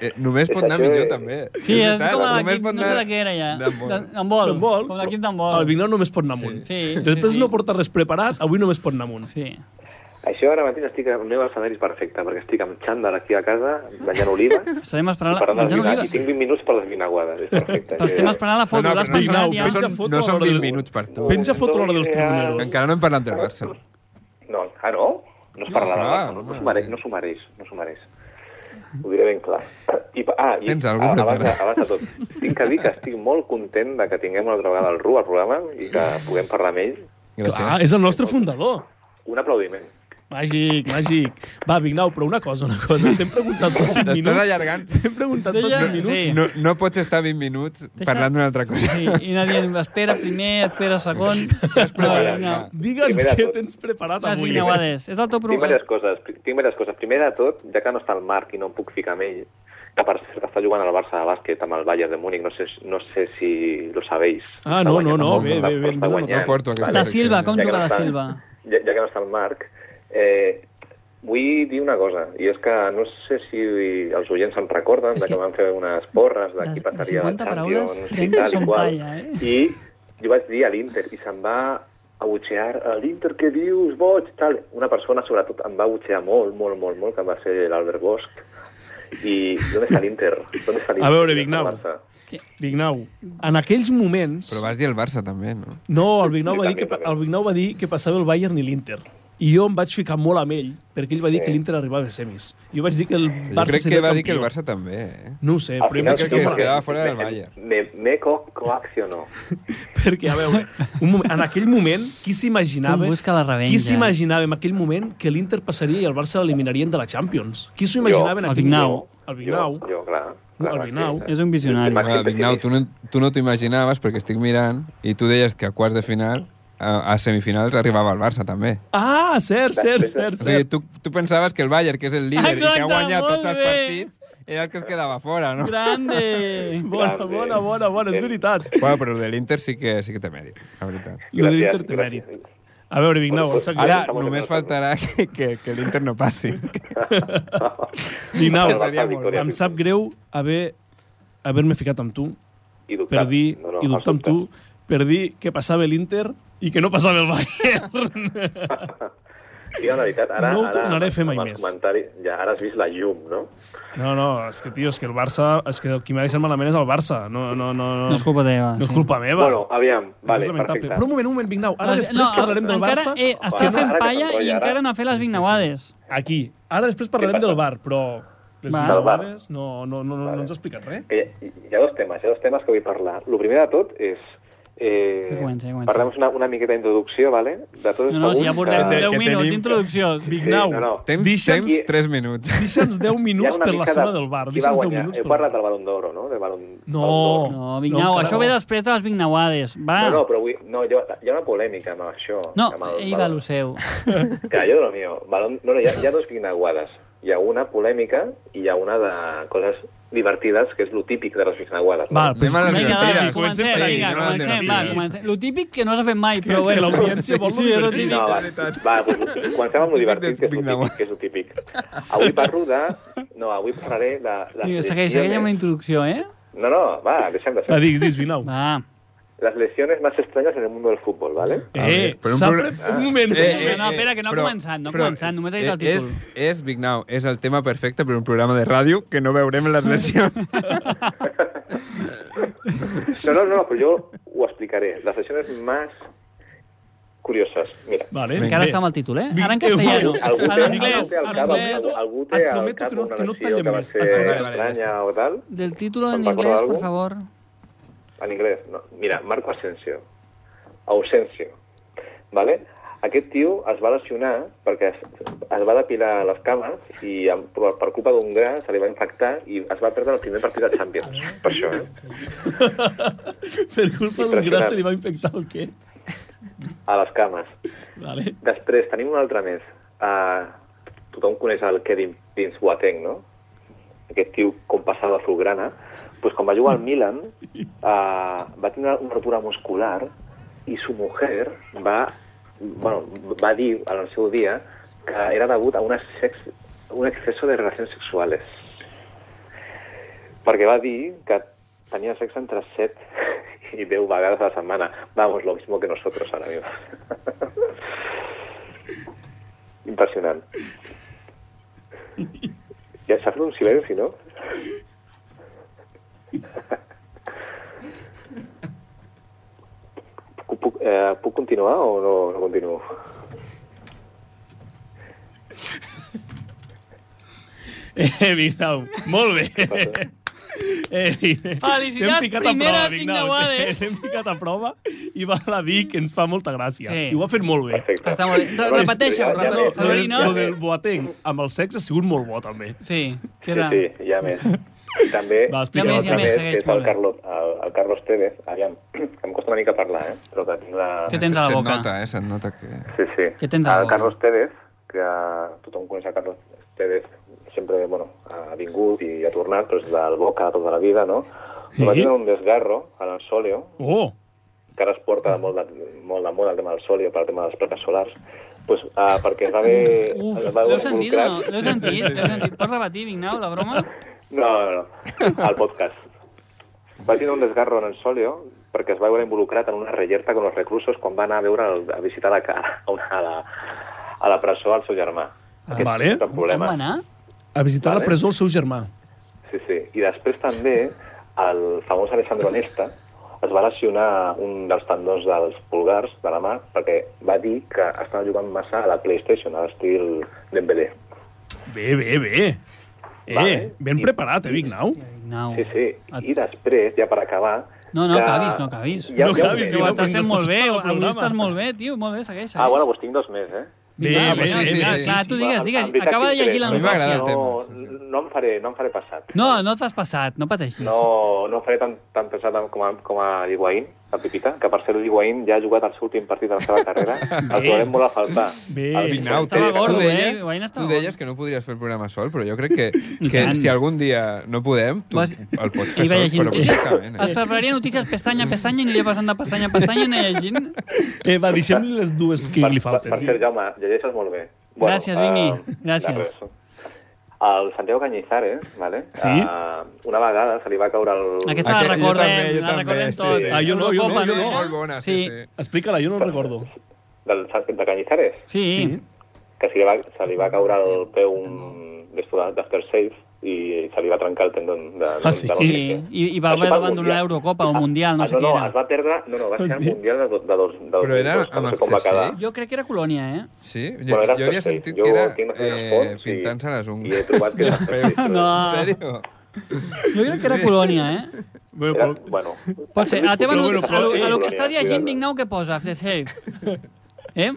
S3: eh, només pot anar
S8: Això
S3: millor,
S8: és-
S3: també.
S2: Sí, és
S3: veritat,
S2: com a
S3: només
S2: l'equip,
S3: pot
S2: no sé
S3: anar
S2: de què era ja.
S3: d'handbol.
S2: De- D'handbol,
S1: D'handbol.
S2: com l'equip
S1: Ah, El
S2: d'handbol.
S1: Vignau només pot anar amunt.
S2: Sí, sí,
S1: Després
S2: sí.
S1: no porta res preparat, avui només pot anar amunt.
S2: Sí.
S8: Això ara mateix estic al meu escenari perfecte, perquè estic amb xandall aquí a casa, banyant oliva,
S2: *laughs* Estarem esperant...
S8: parlant
S2: La...
S8: de
S2: Ja no
S8: vinagre,
S2: diga.
S8: i tinc 20 minuts per les vinaguades, és perfecte. Eh,
S2: Però estem esperant la
S3: No,
S2: foto,
S3: no,
S2: l'has
S3: però
S1: Vignau,
S2: pensat ja?
S1: pensa
S3: No
S1: foto
S3: són, no
S1: a
S3: són
S1: l'hora
S3: 20
S1: de-
S3: minuts per tu.
S1: Penja foto a l'hora dels
S3: Que
S1: tribuneros.
S3: Encara no hem parlat del Barça.
S8: No, ah, no? No es parla
S3: No,
S8: no,
S3: clar,
S8: no, no,
S3: home.
S8: s'ho mereix, no s'ho mereix, no s'ho mereix. Ho diré ben clar. I, pa- ah, i
S3: Tens algú
S8: abans, abans,
S3: preparat?
S8: de- abans de tot, tinc que dir que estic molt content de que tinguem una altra vegada el Ru al programa i que puguem parlar amb ell.
S1: Clar,
S3: Gràcies.
S1: és el nostre fundador.
S8: Un aplaudiment.
S1: Màgic, màgic. Va, Vignau, però una cosa, una cosa. T'hem preguntat per 5
S3: T'estàs
S1: minuts.
S3: allargant.
S1: T'hem preguntat per
S2: Deia-
S1: 5 minuts.
S2: Sí.
S3: Doncs No, no pots estar 20 minuts parlant d'una altra cosa.
S2: Sí, i anar dient, espera primer, espera segon...
S3: preparat,
S2: No,
S3: va.
S1: Digue'ns
S8: Primer de
S1: què
S8: tot.
S1: tens preparat
S2: Les
S1: avui.
S2: vinauades. És el teu
S8: Tinc
S2: problema.
S8: diverses coses. Tinc diverses coses. Primer de tot, ja que no està el Marc i no em puc ficar amb ell, que per cert està jugant al Barça de bàsquet amb el Bayern de Múnich, no sé, no sé si lo sabéis.
S1: Ah,
S8: Està
S1: no,
S8: guanyant
S1: no, no,
S8: molt,
S1: bé,
S8: està-
S1: bé, bé,
S8: està
S1: no
S8: guanyant.
S3: porto aquesta
S8: Vale.
S2: La
S3: secció.
S2: Silva, com
S8: Ja que
S2: juga
S8: no
S2: la
S8: està.
S2: Silva?
S8: ja, ja que no està el Marc, eh, vull dir una cosa, i és que no sé si els oients se'n recorden
S7: És
S8: de que,
S7: que-
S8: vam fer unes porres de
S7: de-
S8: qui
S7: de
S8: passaria a la
S7: 50 paraules,
S8: Champions i
S7: trenta
S8: tal
S2: són
S8: i qual.
S2: palla, eh?
S8: I jo vaig dir a l'Inter, i se'm va abutxear, a l'Inter, què dius, boig, tal. Una persona, sobretot, em va abutxear molt, molt, molt, molt, que va ser l'Albert Bosch. I on està l'Inter? On està l'Inter?
S1: A veure,
S8: On està
S1: Vignau.
S8: el Barça?
S1: Vignau, en aquells moments...
S3: Però vas dir el Barça, també, no?
S1: No, el Vignau,
S8: Sí,
S1: va dir
S8: també,
S1: que,
S8: també.
S1: el Vignau va dir que passava el Bayern i l'Inter. I jo em vaig ficar molt amb ell, perquè ell va dir que l'Inter arribava a semis. Jo vaig dir que el
S3: Jo
S1: Barça
S3: crec que
S1: seria
S3: va dir que el
S1: campió.
S3: Barça també, eh?
S1: No ho sé, però
S8: Al
S1: jo
S8: final
S1: vaig
S3: crec
S1: ficar
S3: que es
S1: molt-
S3: quedava fuera del
S8: me-
S3: Bayern.
S8: Me, me co coaccionó.
S1: Perquè, a veure, un moment, en aquell moment, qui
S2: Com
S1: s'imaginava...
S2: busca la revenja.
S1: Qui s'imaginava en aquell moment que l'Inter passaria i el Barça l'eliminarien de la Champions? Qui s'ho imaginava en
S2: El
S1: aquell
S2: Vignau.
S1: moment? El Vignau.
S8: Jo, jo clar. clar
S1: El
S8: clar,
S1: Vignau.
S8: sí.
S2: És un visionari.
S8: Màxim
S3: Bueno, Vignau, tu
S8: pessimista.
S3: no tu no t'ho imaginaves perquè estic mirant i tu deies que a quarts de final, a, a semifinals, arribava el Barça també.
S1: Ah, cert, cert, cert,
S3: O sigui,
S1: cert.
S3: tu, tu pensaves que el Bayern, que és el líder i que ha
S2: Exacte,
S3: guanyat
S2: molt
S3: tots els
S2: bé.
S3: partits, era el que es quedava fora, no?
S2: Grande!
S1: Bona, bona, bona, bona, és veritat.
S3: Bueno, però el de l'Inter sí que, sí que té mèrit, la veritat.
S1: Lo de l'Inter
S8: Gràcies,
S1: té
S8: gràcies.
S1: mèrit. A veure, Vignau, em sap greu.
S3: Ara
S8: estamos en
S3: només
S8: el Barça.
S3: faltarà *laughs* que, que, que l'Inter no passi.
S1: Vignau,
S8: Ara va estar victòria.
S1: em sap greu haver haver-me ficat amb tu,
S8: I dubtar.
S1: per dir,
S8: No, no,
S1: i dubtar amb
S8: has
S1: tu,
S8: dubtat.
S1: per dir que passava l'Inter i que no passava el Bayern. *laughs*
S8: Tio, la veritat, ara,
S1: No ho
S8: ara,
S1: tornaré a fer
S8: amb
S1: mai
S8: els
S1: més.
S8: comentaris- ja, ara has vist la llum, no?
S1: No, no, és que, tio, és que el Barça... És que el qui m'ha deixat malament és el Barça. No, no, no, no.
S2: No és culpa teva.
S1: No és
S2: sí.
S1: culpa meva.
S8: Bueno, aviam, vale,
S1: és lamentable.
S8: perfecte.
S1: Però un moment, un moment, Vignau. Ara
S2: No,
S1: després
S2: no,
S1: que parlarem del
S2: encara,
S1: Barça...
S2: Eh,
S8: Va,
S2: estem
S8: ara
S2: fent
S8: que
S2: palla i
S8: s'enrotlla, ara.
S2: encara anar a fer les vignauades.
S1: Aquí. Ara després
S8: Què
S1: parlarem
S8: passa?
S1: del bar, però... Les
S2: Va.
S1: Va.
S8: Del bar.
S1: No, no, no, no, no ens ha explicat res.
S8: Que hi, ha- Eh, hi ha dos temes, hi ha dos temes que vull parlar. El primer de tot és... Eh,
S2: Que comença, que comença.
S8: parlem una, una miqueta d'introducció, vale? De tot
S2: No, no, si ja portem
S3: Que-
S2: 10
S3: que
S2: minuts
S3: tenim-
S2: d'introducció.
S8: Sí,
S1: Vignau,
S8: no, no.
S3: Temps,
S1: Deixa'm-
S3: temps 3 minuts.
S1: deixa'ns
S8: *laughs*
S1: 10 minuts per la zona del bar.
S8: Qui va
S1: Deixa'ns 10
S8: guanyar?
S1: minuts
S8: Heu
S1: per...
S8: parlat del Balon d'Oro, no? Del Balon,
S1: No.
S8: Balon d'Or.
S2: No, Vignau,
S1: No,
S2: això
S1: encara
S2: ve
S1: no.
S2: després de les vignauades. Va.
S8: No, no, però vull... No, jo, hi ha una polèmica amb això.
S2: Ah. No,
S8: amb el
S2: ell va
S8: Balon.
S2: lo
S8: *laughs*
S2: seu.
S8: Que jo de lo mío. Balon... No, no, hi ha, hi ha dos guinaguades. Hi ha una polèmica i hi ha una de coses divertides, que és lo típic de les guinaguades.
S1: Val,
S3: Anem a
S2: Vinga,
S3: les mentides.
S2: va,
S1: mentires.
S2: comencem,
S1: Comencem per aquí,
S2: vinga,
S1: no?
S2: comencem, va,
S1: Mentides.
S2: comencem. Lo típic que no s'ha fet mai, però
S1: *laughs* Que
S2: bueno.
S1: l'audiència vol lo
S2: Sí, és lo
S1: divertit.
S2: típic.
S8: No, va, va pues, doncs, comencem amb lo divertit, que és lo típic, que és lo típic. Avui parlo de... No, avui parlaré de... Les
S2: Vinga, segueix, segueix
S8: lesiones-
S2: amb la introducció, eh?
S8: No, no, va, deixem de
S1: Va,
S8: fer.
S1: digues, digues, Vignau.
S2: Va.
S8: Las lesiones más extrañas en el mundo del fútbol, ¿vale?
S3: A veure,
S1: Eh,
S3: però un
S1: s'ha
S3: pro-
S1: pre... un moment.
S2: eh, no, espera, que no ha començat, no ha començat, només ha dit el
S3: eh,
S2: títol.
S3: És, és, Vignau, és el tema perfecte per un programa de ràdio que no veurem
S2: Mm.
S3: les lesions.
S8: No, no, no, pero yo os explicaré. Las sesiones más curiosas. Mira,
S1: Vale,
S2: Encara
S1: bé.
S2: està amb el títol, eh?
S1: Vinga,
S2: Ara en castellano.
S1: algú-
S8: algú
S2: En
S8: té- algú
S2: anglès,
S8: té al
S2: en
S8: cap,
S2: anglès.
S8: algú- algú té
S1: Et
S8: al
S1: prometo
S8: cap
S1: que no-
S8: una
S1: que no et
S8: lesió
S1: tallem
S8: que va
S1: més.
S8: ser
S1: Ah,
S3: vale, vale, ja
S8: extraña o tal,
S2: Del títol
S8: Em
S2: en
S8: recorda
S2: anglès,
S8: algú?
S2: per favor.
S8: en inglés. No. Mira, Marco Asensio. Ausencio. ¿Vale? Aquest tio es va lesionar perquè es, es va depilar les cames i amb, per, per culpa d'un gra se li va infectar i es va perdre el primer partit de Champions. Per això, eh?
S1: Per culpa d'un gra se li va infectar el què?
S8: A les cames.
S1: Vale.
S8: Després tenim un altre més. Uh, tothom coneix el Kevin Prince Boateng, no? Aquest tio com passava a Fulgrana. Pues quan va jugar al Milan uh, va tenir una ruptura muscular i su mujer va, bueno, va dir en el seu dia que era degut a una sex, un exceso de relacions sexuales. Perquè va dir que tenia sexe entre 7 i 10 vegades a la setmana. Vamos, lo mismo que nosotros ahora mismo. *laughs* Impressionant. Ja s'ha fet un silenci, no? Puc, puc, eh, puc continuar o no, no continuo?
S1: Eh, Vignau, molt bé. Eh, Vignau,
S2: Felicitats,
S1: t'hem ficat a
S2: primera
S1: prova, Vignau. eh?
S2: Vignauades.
S1: *laughs* T'hem ficat a prova i val a dir que ens fa molta gràcia.
S2: Sí.
S1: I ho ha fet molt bé.
S8: Perfecte.
S2: Està molt bé. Re- Repeteixeu,
S8: Ja- ja
S1: Lo
S2: repeteixeu.
S8: més.
S1: del-
S2: Sabrina?
S1: Lo del Boateng amb el sexe ha sigut molt bo, també.
S2: Sí, que
S8: Sí,
S2: era...
S8: sí, ja més. I també,
S1: Va,
S8: hi
S1: explica.
S8: ha
S1: Ja
S8: un
S1: més,
S8: altre
S1: ja més,
S8: més,
S2: segueix,
S8: que és
S2: molt
S8: el
S2: bé.
S8: Carlos, el, el Carlos Tevez. Aviam, *clears throat* que em costa una mica parlar, eh? Però que tinc la...
S2: Què tens a la
S3: Se't
S2: boca?
S3: nota, eh? Se't nota que...
S8: Sí, sí.
S2: Què tens a la
S8: el
S2: boca?
S8: Carlos Tevez, que tothom coneix a Carlos Tevez, sempre bueno, ha vingut i ha tornat, però és del Boca tota la vida, no? Sí. Va
S1: Sí.
S8: tenir un desgarro a l'Ansolio,
S1: Oh,
S8: que ara es porta molt de, molt de moda el tema del sòlio pel tema dels plaques solars, pues, ah, perquè es va haver...
S2: Uf,
S8: es va
S2: l'heu
S8: veure
S2: sentit o
S8: involucrat-
S2: no? L'heu sentit? L'heu sentit? Pots repetir, Vignau, la broma?
S8: No, no, no. Al podcast. Va tenir un desgarro en el Solio perquè es va veure involucrat en una rellerta amb els reclusos quan va anar a veure el, a visitar la, ca- a, una, a, la, a la presó al seu germà.
S2: Ah,
S8: Aquest
S1: vale.
S8: és el
S2: Com
S8: problema.
S2: va anar?
S1: A visitar
S8: Vale.
S1: la presó el seu germà.
S8: Sí, sí. I després també el famós Alessandro Nesta es va lesionar un dels tendons dels pulgars de la mà perquè va dir que estava jugant massa a la PlayStation, a l'estil Dembélé.
S1: Bé, bé, bé. Eh,
S8: Vale.
S1: ben preparat, eh, Vignau?
S2: Vignau.
S8: Sí, sí. I després, ja per acabar...
S2: Oh. Ah. No, no,
S8: ja-
S2: acabis, no acabis.
S8: Ja,
S1: No
S8: ja ho
S1: acabis,
S8: sé.
S2: Ho
S1: no,
S2: estàs
S1: però
S2: fent molt bé,
S1: estàs al
S2: avui
S1: programa.
S2: estàs molt bé, tio, molt bé, segueix, segueix.
S8: Ah, bueno, doncs tinc dos més, eh?
S1: Bé,
S2: Va,
S1: bé,
S2: sí,
S1: bé,
S2: sí,
S1: clar,
S2: sí,
S1: clar,
S2: sí. tu
S1: tu-
S2: digues,
S8: En
S2: digues.
S8: veritat,
S2: Acaba de llegir la
S8: sincerament,
S3: A mi m'agrada el
S8: no,
S3: tema,
S8: No em faré, no em faré passat.
S2: No, no t'has passat, no pateixis.
S8: No, no em faré tan, tan pesat com a, com a l'Higuaín, el Pipita, que per ser l'Higuaín ja ha jugat el seu últim partit de la seva
S2: *laughs*
S8: carrera. El trobarem molt a faltar.
S1: Bé.
S8: El
S3: Vignau,
S2: Estava
S3: tu-
S2: gordo,
S3: tu,
S2: eh?
S3: deies,
S2: Guaina estava
S3: tu deies que no podries fer el programa sol, però jo
S2: *laughs*
S3: crec que,
S2: I
S3: que
S2: tant.
S3: si algun dia no podem, tu
S2: Vas-
S3: el pots fer
S2: I va
S3: sol,
S2: *laughs* llegint
S3: però
S2: notícies.
S3: perfectament.
S2: Es
S3: Eh?
S2: prepararia notícies pestanya a pestanya i aniria passant de pestanya a pestanya i anar llegint.
S1: Eh, va, deixem-li les dues que
S8: Per,
S1: li
S8: per,
S1: falten.
S8: per ser, Jaume, llegeixes molt bé.
S2: Gràcies, Vini,
S8: eh,
S2: gràcies.
S8: de res. El Santiago Cañizares, vale?
S1: Sí.
S8: Eh, una vegada se li va caure el...
S2: Aquesta
S3: Aquest-
S2: la
S3: jo
S2: recordem,
S3: també, jo
S2: la
S3: també,
S2: recordem
S3: sí.
S2: tots.
S1: Ah, jo no, jo
S2: Eurocopa,
S1: no, jo
S2: eh?
S1: no.
S3: Molt bona, sí, sí.
S1: Explica-la, jo no la recordo.
S8: Del, de Cañizares,
S2: Sí, sí.
S1: Sí.
S8: que se li va, se li va caure el peu un... d'esto d'aftershave i se li va trencar el tendon de,
S1: Ah, sí?
S8: de
S2: Sí,
S8: l'hombre.
S2: i, i va
S8: Això
S2: haver
S8: pel
S2: d'abandonar
S8: Mundial.
S2: l'Eurocopa o
S8: Ah,
S2: Mundial, no
S8: ah,
S2: sé
S8: no,
S2: què
S8: No, es
S2: era. Ah,
S8: va perdre... No, no, va ser el
S1: Sí.
S8: Mundial de, dos- de dos... De
S3: Però era
S8: dos,
S3: amb
S8: no sé com va quedar.
S3: aftershave?
S2: Jo crec que era Colònia, eh?
S3: Sí? Jo,
S8: Bueno, era
S3: jo havia
S8: aftershave.
S3: sentit
S8: Jo
S3: que era
S8: tinc les meves
S3: eh,
S8: fonts i-
S3: pintant-se les
S8: I he
S3: ungles. *laughs*
S8: trobat que...
S2: No.
S8: no.
S3: En sèrio?
S2: Jo crec que era Colònia, eh?
S1: Bé,
S8: Era,
S1: però-
S8: bueno,
S2: Pot ser. A la teva
S1: Però
S2: no,
S1: bueno,
S2: a
S1: però-
S2: lo, a lo
S8: eh,
S2: que estàs llegint,
S8: cuidado.
S2: Vignau, què posa? Aftershave. Eh?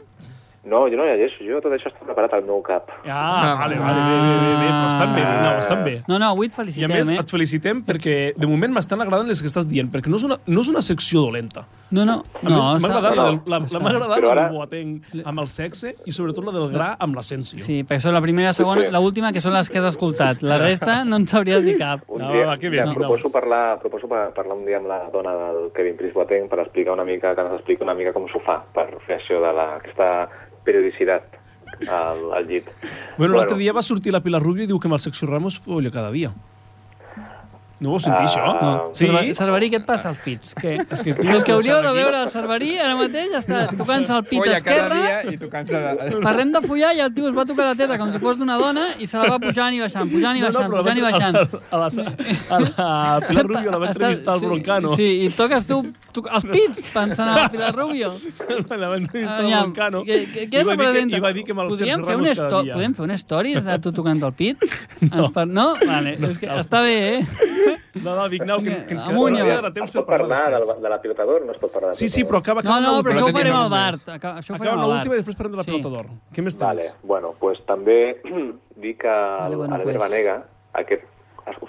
S8: no, jo no llegeixo, jo tot això està preparat al meu cap.
S1: Ah, vale, vale, bé, bé, bé, bé, però estan bé, Vignau, estan bé.
S2: No, no, avui
S1: I
S2: et
S1: a més,
S2: felicitem, eh?
S1: et felicitem perquè de moment m'estan agradant les que estàs dient, perquè no és una, no és una secció dolenta.
S2: No, no,
S1: A
S2: no.
S1: més, m'ha
S2: està-
S1: agradat, la, del- la,
S2: Està.
S1: la, m'ha agradat
S8: Però
S1: la
S8: ara-
S1: del Boateng amb el sexe i sobretot la del gra amb l'ascensió.
S2: Sí, perquè són la primera, segona,
S8: Sí.
S2: la última, que són les que has escoltat. La
S1: *laughs*
S2: resta no en sabries dir cap.
S8: Un
S1: No,
S8: dia,
S1: va, que bé,
S8: ja,
S1: sí, no.
S8: proposo, parlar, proposo pa- parlar un dia amb la dona del Kevin Pris Boateng per explicar una mica, que ens expliqui una mica com s'ho fa per fer això de la, aquesta periodicitat al, al llit.
S1: Bueno, l'altre dia va sortir la Pilar Rubio i diu que amb el Sergio Ramos folla cada dia. No ho sentir,
S8: Ah,
S1: això?
S8: no.
S1: Sí?
S2: Cerver- Cerverí, què et passa als pits? Que...
S1: *laughs* És que, tio,
S2: Els que hauríeu de
S1: aquí-
S2: veure el Cerverí ara mateix està tocant-se el pit
S3: Folla cada
S2: esquerre,
S3: dia i tocant-se... de-
S2: Parlem de follar i el tio es va tocar la teta com si fos d'una dona i se la va pujant i baixant, pujant i
S1: No, no,
S2: baixant,
S1: però
S2: pujant i baixant.
S1: A la, a la, a la Pilar Rubio la va entrevistar al
S2: sí,
S1: Broncano.
S2: Sí, i toques tu, tu els pits pensant en la Pilar Rubio.
S1: *laughs* la va entrevistar al
S2: Aviam,
S1: Broncano.
S2: què, què, què
S1: i, va dir que,
S2: representa?
S1: I va dir que amb el
S2: podríem
S1: Sergio
S2: fer un
S1: Ramos cada
S2: esto-
S1: dia.
S2: Podríem fer un stories de tu tocant el
S1: *laughs*
S2: pit? No. Per... no? Vale, és que està bé, eh?
S1: No, no, Vignau, que, que ens queda,
S2: Amunt,
S1: ens
S2: ja.
S1: quedarà temps
S8: es
S1: per
S8: pot
S1: parlar
S8: parlar del,
S1: després.
S8: de la pilota d'or? No es pot parlar de la
S1: Sí, sí, però
S8: pilota d'or?
S1: acaba...
S2: No,
S1: acaba
S2: no,
S1: una
S2: però això ho
S1: última.
S2: farem
S3: teníem
S2: al
S3: els
S2: Bart.
S3: drets.
S2: Acaba, això ho farem
S1: Acaba
S2: al
S1: una
S2: Bart.
S1: última i després parlem de la
S2: Sí.
S1: pilota d'or. Què més tens?
S8: Vale, bueno, pues també dir que
S2: Vale,
S8: vale,
S2: bueno,
S8: bueno,
S2: pues.
S8: l'Albert pues. Vanega, aquest,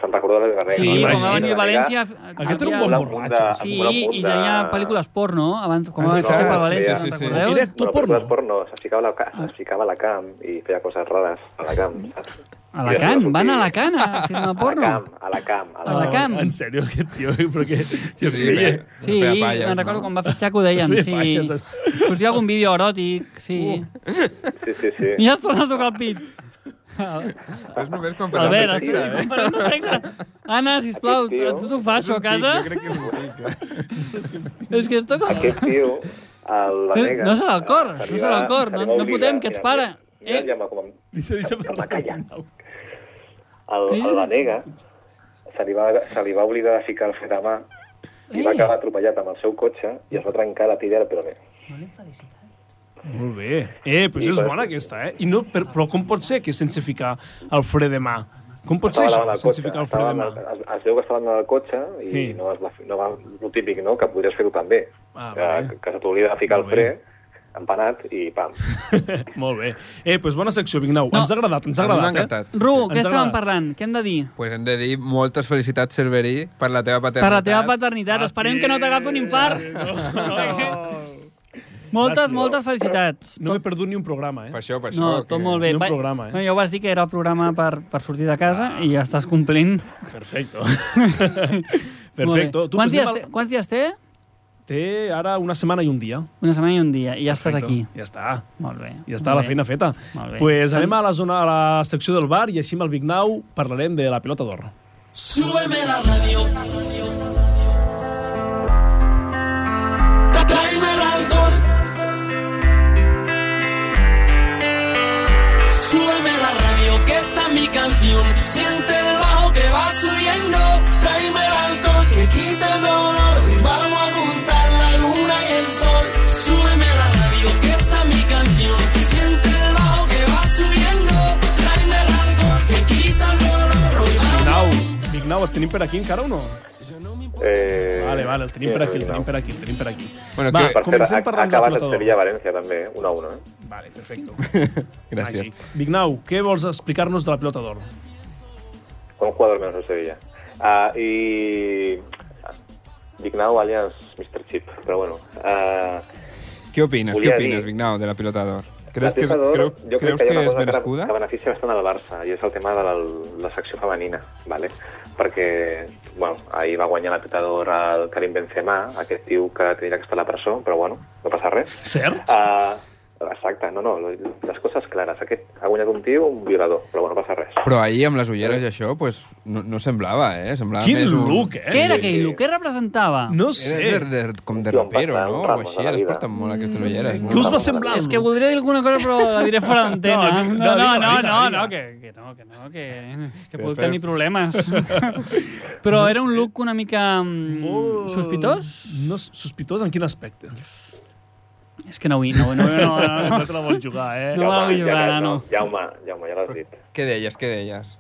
S8: se'n recorda l'Albert Vanega?
S2: Sí,
S1: Imagina't.
S2: quan va venir a València...
S1: Aquest era un
S2: havia-
S1: bon eh?
S8: Amb una
S1: borratxo.
S8: punta- amb
S2: Sí,
S8: una
S2: i hi
S8: punta-
S2: havia pel·lícules porno, abans, com va
S3: Ah, sí,
S2: fer per
S3: sí,
S2: València,
S3: sí,
S2: sí,
S3: sí,
S2: sí,
S3: sí.
S2: recordeu?
S1: Era actor
S8: no, porno.
S1: porno.
S8: porno, es ficava, a la, ca- es ficava a la camp i feia coses rares a la camp, saps?
S2: A Alacant, van a Alacant a firmar
S8: A la camp,
S2: porno.
S8: a la camp. A la,
S2: A la camp.
S1: En sèrio, aquest tio, eh? perquè... Jo
S3: Sí,
S1: creia...
S3: feia-
S2: Sí,
S3: feia
S2: me'n
S3: palles,
S2: recordo
S3: no?
S2: quan va fitxar que ho deien,
S1: Es feia
S2: sí.
S1: palles. Uh.
S2: Sortia algun vídeo eròtic, sí.
S8: Sí, sí, sí.
S2: I ja es torna a tocar el pit.
S1: Ah.
S3: És només quan
S2: A
S3: parlem de
S2: veure,
S3: sexe, eh?
S2: Ana, sisplau,
S8: Aquest tio-
S2: tu t'ho fas, això, a casa?
S3: Jo crec que és un tic, eh?
S2: És que esto... com-
S8: Aquest tio, el Vanega...
S2: No serà el cor,
S8: se li
S2: no serà el
S8: va-
S2: cor,
S8: se
S2: no-
S8: li va
S2: no
S8: oblidar.
S2: fotem, que ets
S8: Mira,
S2: pare.
S8: Mira,
S2: Eh?
S8: mira, ja, com,
S1: Deixa, deixa parlar.
S8: Calla.
S1: Vignau.
S8: el,
S2: Eh?
S8: el Vanega se li, va, se li va oblidar de ficar el fet a mà i va
S2: Eh.
S8: acabar atropellat amb el seu cotxe i es va trencar la tira del peroné.
S1: Molt bé. Eh, però això és bona, aquesta, eh? I no, per, però com pot ser que sense ficar el fre de mà? Com pot ser
S8: Estava
S1: això,
S8: davant del
S1: sense
S8: cotxe,
S1: ficar el fre
S8: estava
S1: de mà?
S8: davant del- es, es veu que estava davant del cotxe i
S1: Sí.
S8: no, es va, fi- no va, el típic, no?, que podries fer-ho també.
S1: Ah,
S8: que,
S1: vale.
S8: que, se t'oblida de ficar el
S1: Molt
S8: fre,
S1: bé.
S8: empanat i pam.
S1: *laughs* Molt bé. Eh, doncs bona secció, Vignau. Ens ha agradat, ens ha
S3: A mi m'ha
S1: agradat, eh?
S3: encantat.
S2: Ru, què
S1: Ens
S2: estàvem
S1: agrada.
S2: parlant? Què hem de dir?
S3: Pues hem de dir moltes felicitats, Cerverí, per la teva paternitat.
S2: Per la teva
S1: Ah,
S2: paternitat, esperem que no t'agafi un
S1: *laughs*
S2: infart. Moltes,
S1: Gràcies.
S2: moltes felicitats.
S1: No m'he perdut ni un programa,
S3: Per
S1: eh?
S3: això, per això.
S2: No, tot
S3: que-
S2: molt bé.
S1: Ni un
S2: Va-
S1: programa, eh? Ah.
S2: No, ja ho vas dir que era el programa per, per sortir de casa i ja estàs complint.
S3: *laughs*
S1: Perfecto.
S2: Molt bé.
S1: Perfecto. Tu,
S2: Quants,
S1: passem
S2: dies
S1: al-
S2: té, quants dies té?
S1: té ara una setmana i un dia.
S2: Una setmana i un dia, i ja estàs aquí.
S1: Ja està.
S2: Molt bé.
S1: Ja està la feina feta.
S2: Molt bé.
S1: pues anem a la zona a la secció del bar i així amb el Big Now parlarem de la pilota d'or.
S7: Súbeme la radio. Tráeme el alcohol. Súbeme la radio, que esta es mi canción. Siente el bajo que va subiendo. Tráeme el alcohol, que quita el dolor. Vamos a juntar la luna y el sol. Súbeme la radio, que esta es mi canción. Siente el bajo que va subiendo. Tráeme el alcohol, que quita el dolor. Hoy vamos a
S1: Now, Big Now, el tenim per aquí encara o no?
S8: Eh,
S1: Vale, vale, el tenim
S8: sí,
S1: per aquí, el
S8: Big Now.
S1: tenim per aquí, el tenim per aquí.
S3: Bueno,
S1: Va,
S3: que-
S8: Per
S1: comencem
S8: cert, ha,
S1: parlant de la
S8: acabat
S1: pilota
S8: el
S1: d'or.
S8: Sevilla-València també, 1 a 1, eh?
S1: Vale, perfecto.
S8: *laughs*
S3: Gràcies.
S1: Màgic. Big Now, què vols explicar-nos de la pilota d'or?
S8: Con un jugador menos el Sevilla. Ah, y... Dignao alias Mr. Chip, pero bueno. Ah,
S3: Què opines?
S8: Volia
S3: què opines,
S8: dir-
S3: Vignau, de la pilota d'or?
S8: la
S3: Creus que és,
S8: pilota d'or,
S3: creu,
S8: jo crec
S3: creus
S8: que, hi
S3: que
S8: ha una
S3: és
S8: cosa que,
S3: merescuda?
S8: que beneficia bastant al Barça, i és el tema de la, la secció femenina, ¿vale? perquè bueno, ahir va guanyar la pilota d'or el Karim Benzema, aquest tio que tindrà que estar a la presó, però bueno, no passa res.
S1: Cert?
S8: Ah, exacte, no, no, les coses clares. Aquest ha guanyat un tio, un violador, però bueno, no passa res.
S3: Però ahir, amb les ulleres i això, pues, no, no semblava, eh? Semblava
S1: Quin
S3: més un...
S1: look, eh?
S2: Què era aquell look? Què representava?
S1: No
S3: Era
S1: sé.
S3: de, de, com de
S8: Jo em
S3: rapero,
S8: vaig
S3: no? O
S8: anar un
S3: així,
S8: ramo de
S3: ara es
S8: vida.
S3: porten molt
S2: Mm.
S3: aquestes ulleres.
S1: Què us va
S8: Vamos,
S1: semblar?
S2: És que voldria dir alguna cosa, però la diré
S1: *laughs*
S2: fora d'antena.
S1: No,
S2: No,
S1: digue-
S2: no, no,
S1: digue-
S2: no,
S1: digue-
S2: no,
S1: digue.
S2: no, que, que no, que no, que, que puc
S3: després-
S2: tenir *laughs* problemes. però era un look una mica mm,
S1: Molt-
S2: sospitós.
S1: No, sospitós en quin
S2: *laughs*
S1: aspecte? Ah,
S2: És que no vull, no, no, no, no,
S1: *laughs* No te la vols jugar, eh?
S2: No. va
S8: Jaume,
S2: jugar,
S8: ja,
S2: no.
S8: no. Jaume, Jaume, ja l'has dit.
S3: Què deies, què deies?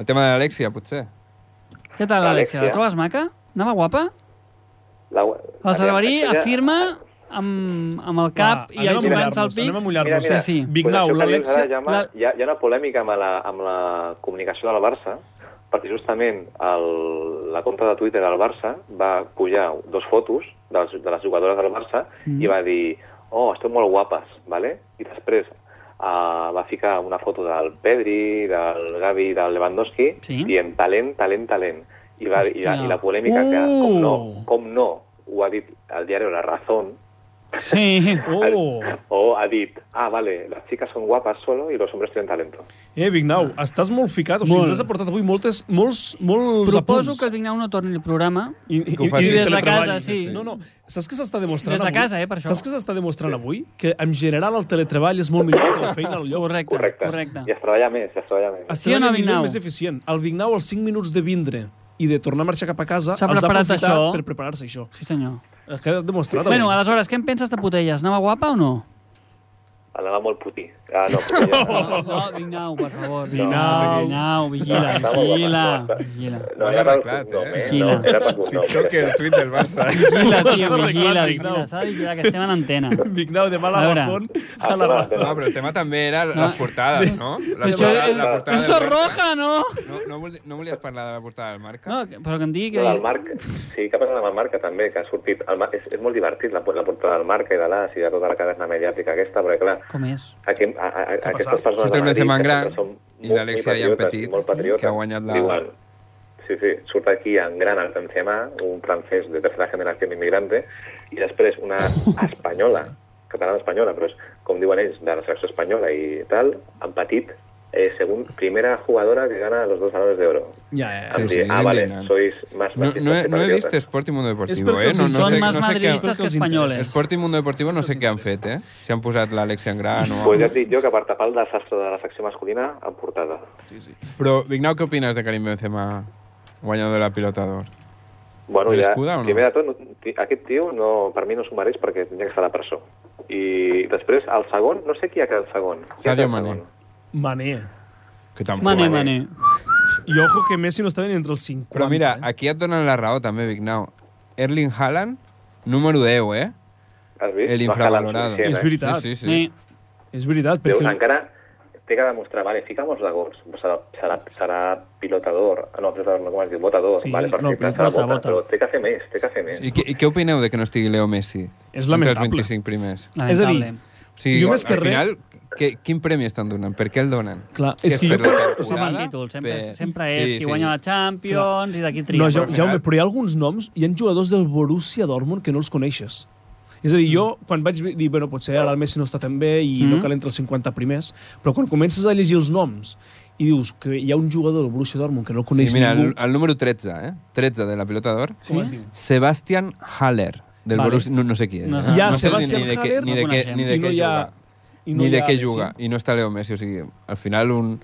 S3: El tema de l'Alexia, potser?
S2: Què tal, Alexia? La
S8: Alexia.
S2: trobes maca? Anava guapa?
S8: La...
S2: El Salvarí
S8: Aquesta ja-
S2: afirma amb, amb el cap
S1: Va,
S2: i
S1: anem
S2: el
S1: a
S2: tocant
S1: mullar-nos, Anem
S2: al pic.
S1: a
S8: Mira,
S1: mullar-nos.
S8: mira,
S2: Sí, sí.
S1: Big
S8: pues
S1: Now,
S8: això que dius
S1: l'Alexia...
S8: ara, Jaume,
S2: la-
S8: Hi, ha, hi ha una polèmica amb la, amb la comunicació del Barça, perquè justament el, la compra de Twitter del Barça va pujar dos fotos de les, de les jugadores del Barça mm. i va dir, oh, esteu molt guapes, ¿vale? i després uh, va ficar una foto del Pedri, del Gavi, del Lewandowski,
S2: Sí.
S8: dient talent, talent, talent. I, va, i,
S2: Hòstia.
S8: la,
S2: Oh.
S8: I la polèmica que, com no,
S1: Uh.
S8: com no, ho ha dit el diari La Razón,
S2: Sí.
S1: Oh!
S8: o ha dit, ah, vale, las chicas son guapas solo y los hombres tienen talento.
S1: Eh, Big Now, estàs molt ficat. O sigui,
S2: Molt.
S1: ens has aportat avui moltes, molts, molts
S2: Proposo
S1: apunts.
S2: que el Vignau no torni el programa.
S1: I, i,
S3: Que ho faci.
S1: i
S3: Des de
S1: teletreball.
S2: casa, sí.
S1: No, no. Saps què s'està demostrant
S2: Des de
S1: avui?
S2: casa, eh, per això.
S1: Saps què s'està demostrant avui? Que en general el teletreball és molt millor que la feina al lloc.
S2: Correcte,
S8: Correcte. I es treballa més, es treballa més.
S1: Es
S2: Sí o no,
S1: treballa millor i
S2: Vignau?
S1: més eficient. El Big Now, als 5 minuts de vindre i de tornar a marxar cap a casa,
S2: S'ha
S1: els ha
S2: preparat
S1: aprofitat
S2: això.
S1: per preparar-se això.
S2: Sí, senyor.
S1: Es queda demostrat avui.
S2: Bueno, aleshores, què en penses de Potelles? Anava guapa o no?
S8: Anava molt putí. Ah, no, però ja,
S2: *laughs* No,
S3: Oh.
S8: no.
S2: no, Vignau, per favor.
S1: Vignau.
S2: Vignau, vigila,
S8: Ah, Estava
S2: vigila.
S8: guapa.
S3: *laughs*
S2: Vigila,
S8: No,
S3: Ho he
S8: era pel
S3: arreglat,
S8: cognom,
S3: eh?
S8: eh? No,
S2: Vigila.
S8: era pel cognom.
S3: Pitjor que el tuit del Barça.
S2: vigila,
S1: Estava
S2: tio, vigila,
S1: arreglant,
S2: vigila.
S1: Vignau.
S2: S'ha de vigilar, que estem en antena.
S1: Big Now, de mala
S2: A veure.
S1: razón
S8: Ah,
S1: a la razón.
S3: *laughs* No, però el tema també era
S2: No.
S3: les portades, no? Les
S2: Això
S3: portades,
S2: és...
S3: la portada
S2: Eso
S3: del Barça.
S2: roja, no?
S3: No, no, vol, no volies parlar de la portada del Marca?
S2: No, que- però que em digui
S8: Però del
S2: que...
S8: Marc, sí, que ha passat amb el Marca també, que ha sortit... El, Marc- és, és molt divertit la, la portada del Marca i de l'AS i de tota la cadena mediàtica aquesta, perquè clar,
S2: Com és?
S8: aquí, a, a, a, aquestes persones...
S3: Surt el
S8: de Madrid,
S3: Benzema en
S8: que
S3: gran
S8: sempre són
S3: i
S8: molt-
S3: l'Alexia
S8: molt
S3: ja en
S8: patriotes,
S3: petit,
S8: molt patriotes,
S3: que ha guanyat la-
S8: Diuen, Sí, sí, surt aquí en gran el Benzema, un francès de tercera generació immigrante, i després
S3: *laughs*
S8: una espanyola, catalana espanyola, però és, com diuen ells, de la selecció espanyola i tal, en petit, eh, según primera jugadora que gana los dos balones de oro.
S1: Ja, ja, ja.
S3: Sí,
S8: Em
S3: sí,
S8: diu,
S3: és
S8: ah, vale,
S3: indignant.
S8: sois más
S3: No, no, he, no he vist Esport i Mundo
S1: És
S3: Deportivo,
S1: perquè
S3: eh?
S1: els
S3: No, no
S2: Són
S3: sé,
S2: més
S3: no sé què...
S2: madridistes que
S1: els interessa.
S2: espanyoles.
S3: Esport i Mundo Deportivo no sé què han fet, eh? Si han posat l'Alexia en gran o...
S8: Pues ja et dic jo que per tapar el desastre de la secció masculina, en portada.
S3: Però, Vignau, què opines de Karim Benzema guanyador de la pilota d'or?
S8: Bueno,
S3: Li
S8: ja,
S3: escuda o no?
S8: primer de tot, no- ti- aquest tio no, per mi no s'ho mereix perquè tindria que estar a la presó. I després, al segon, no sé qui ha quedat segon. Qui ha
S3: Sadio
S8: quedat
S3: Mané.
S8: segon?
S1: Mané.
S3: Que tampoc...
S2: Mane, mane.
S1: I ojo que Messi no estava ni entre els 50.
S3: Però mira,
S1: eh?
S3: aquí et donen la raó també, Vignau. Erling Haaland, número 10, eh?
S8: Has vist?
S3: El
S8: No ha quedat
S3: infravalorado.
S8: suficient,
S1: És
S8: eh?
S1: veritat.
S3: Sí, sí, sí.
S2: Sí.
S1: És veritat,
S8: Déu,
S1: perquè...
S8: encara té que demostrar, vale, fica'm-los de gols, serà, serà, serà pilotador, Ah, no, pilotador, no, com es diu, botador,
S1: Sí,
S8: vale,
S1: no,
S8: perfecte,
S1: pilota,
S8: serà bota,
S2: bota.
S8: però té que fer més, té que fer més.
S3: I, què, I què opineu de que no estigui Leo Messi?
S1: És lamentable.
S3: Entre els 25 primers.
S1: És a dir,
S2: Lamentable.
S3: O sigui,
S1: Jo més que
S3: al
S1: res-
S3: final, que, quin premi estan donant? Per què el donen?
S1: Clar,
S3: Que
S1: és que
S3: per
S1: jo...
S3: la
S2: Sumen
S3: temporada?
S2: títols, sempre,
S3: Per-
S2: sempre és qui
S3: Sí, sí.
S2: guanya la Champions i d'aquí tria.
S1: No, ja,
S3: al final-
S1: Jaume, però hi ha alguns noms, hi ha jugadors del Borussia Dortmund que no els coneixes. És a dir, jo,
S2: Mm.
S1: quan vaig dir, bueno, potser ara el Messi no està tan bé i no
S2: Mhm.
S1: cal entre els 50 primers, però quan comences a llegir els noms i dius que hi ha un jugador del Borussia Dortmund que no
S3: Sí,
S1: coneix
S3: mira,
S1: ningú...
S3: el, el número 13, eh? 13 de la pilota d'or.
S1: Com es diu?
S3: Sebastian Haller, del
S1: Vale.
S3: Borussia... No, no sé qui és.
S2: No
S3: eh?
S2: sé. Hi ha
S3: no sé
S1: Sebastian
S3: ni de què,
S1: Haller,
S3: ni
S2: no
S3: de què,
S2: coneixem.
S3: ni de
S1: I no
S3: què
S1: hi ha-
S3: juga.
S1: i no
S3: ni
S1: hi
S3: de
S1: ha
S3: què
S1: Messi.
S3: juga. I no està Leo Messi. O sigui, al final un,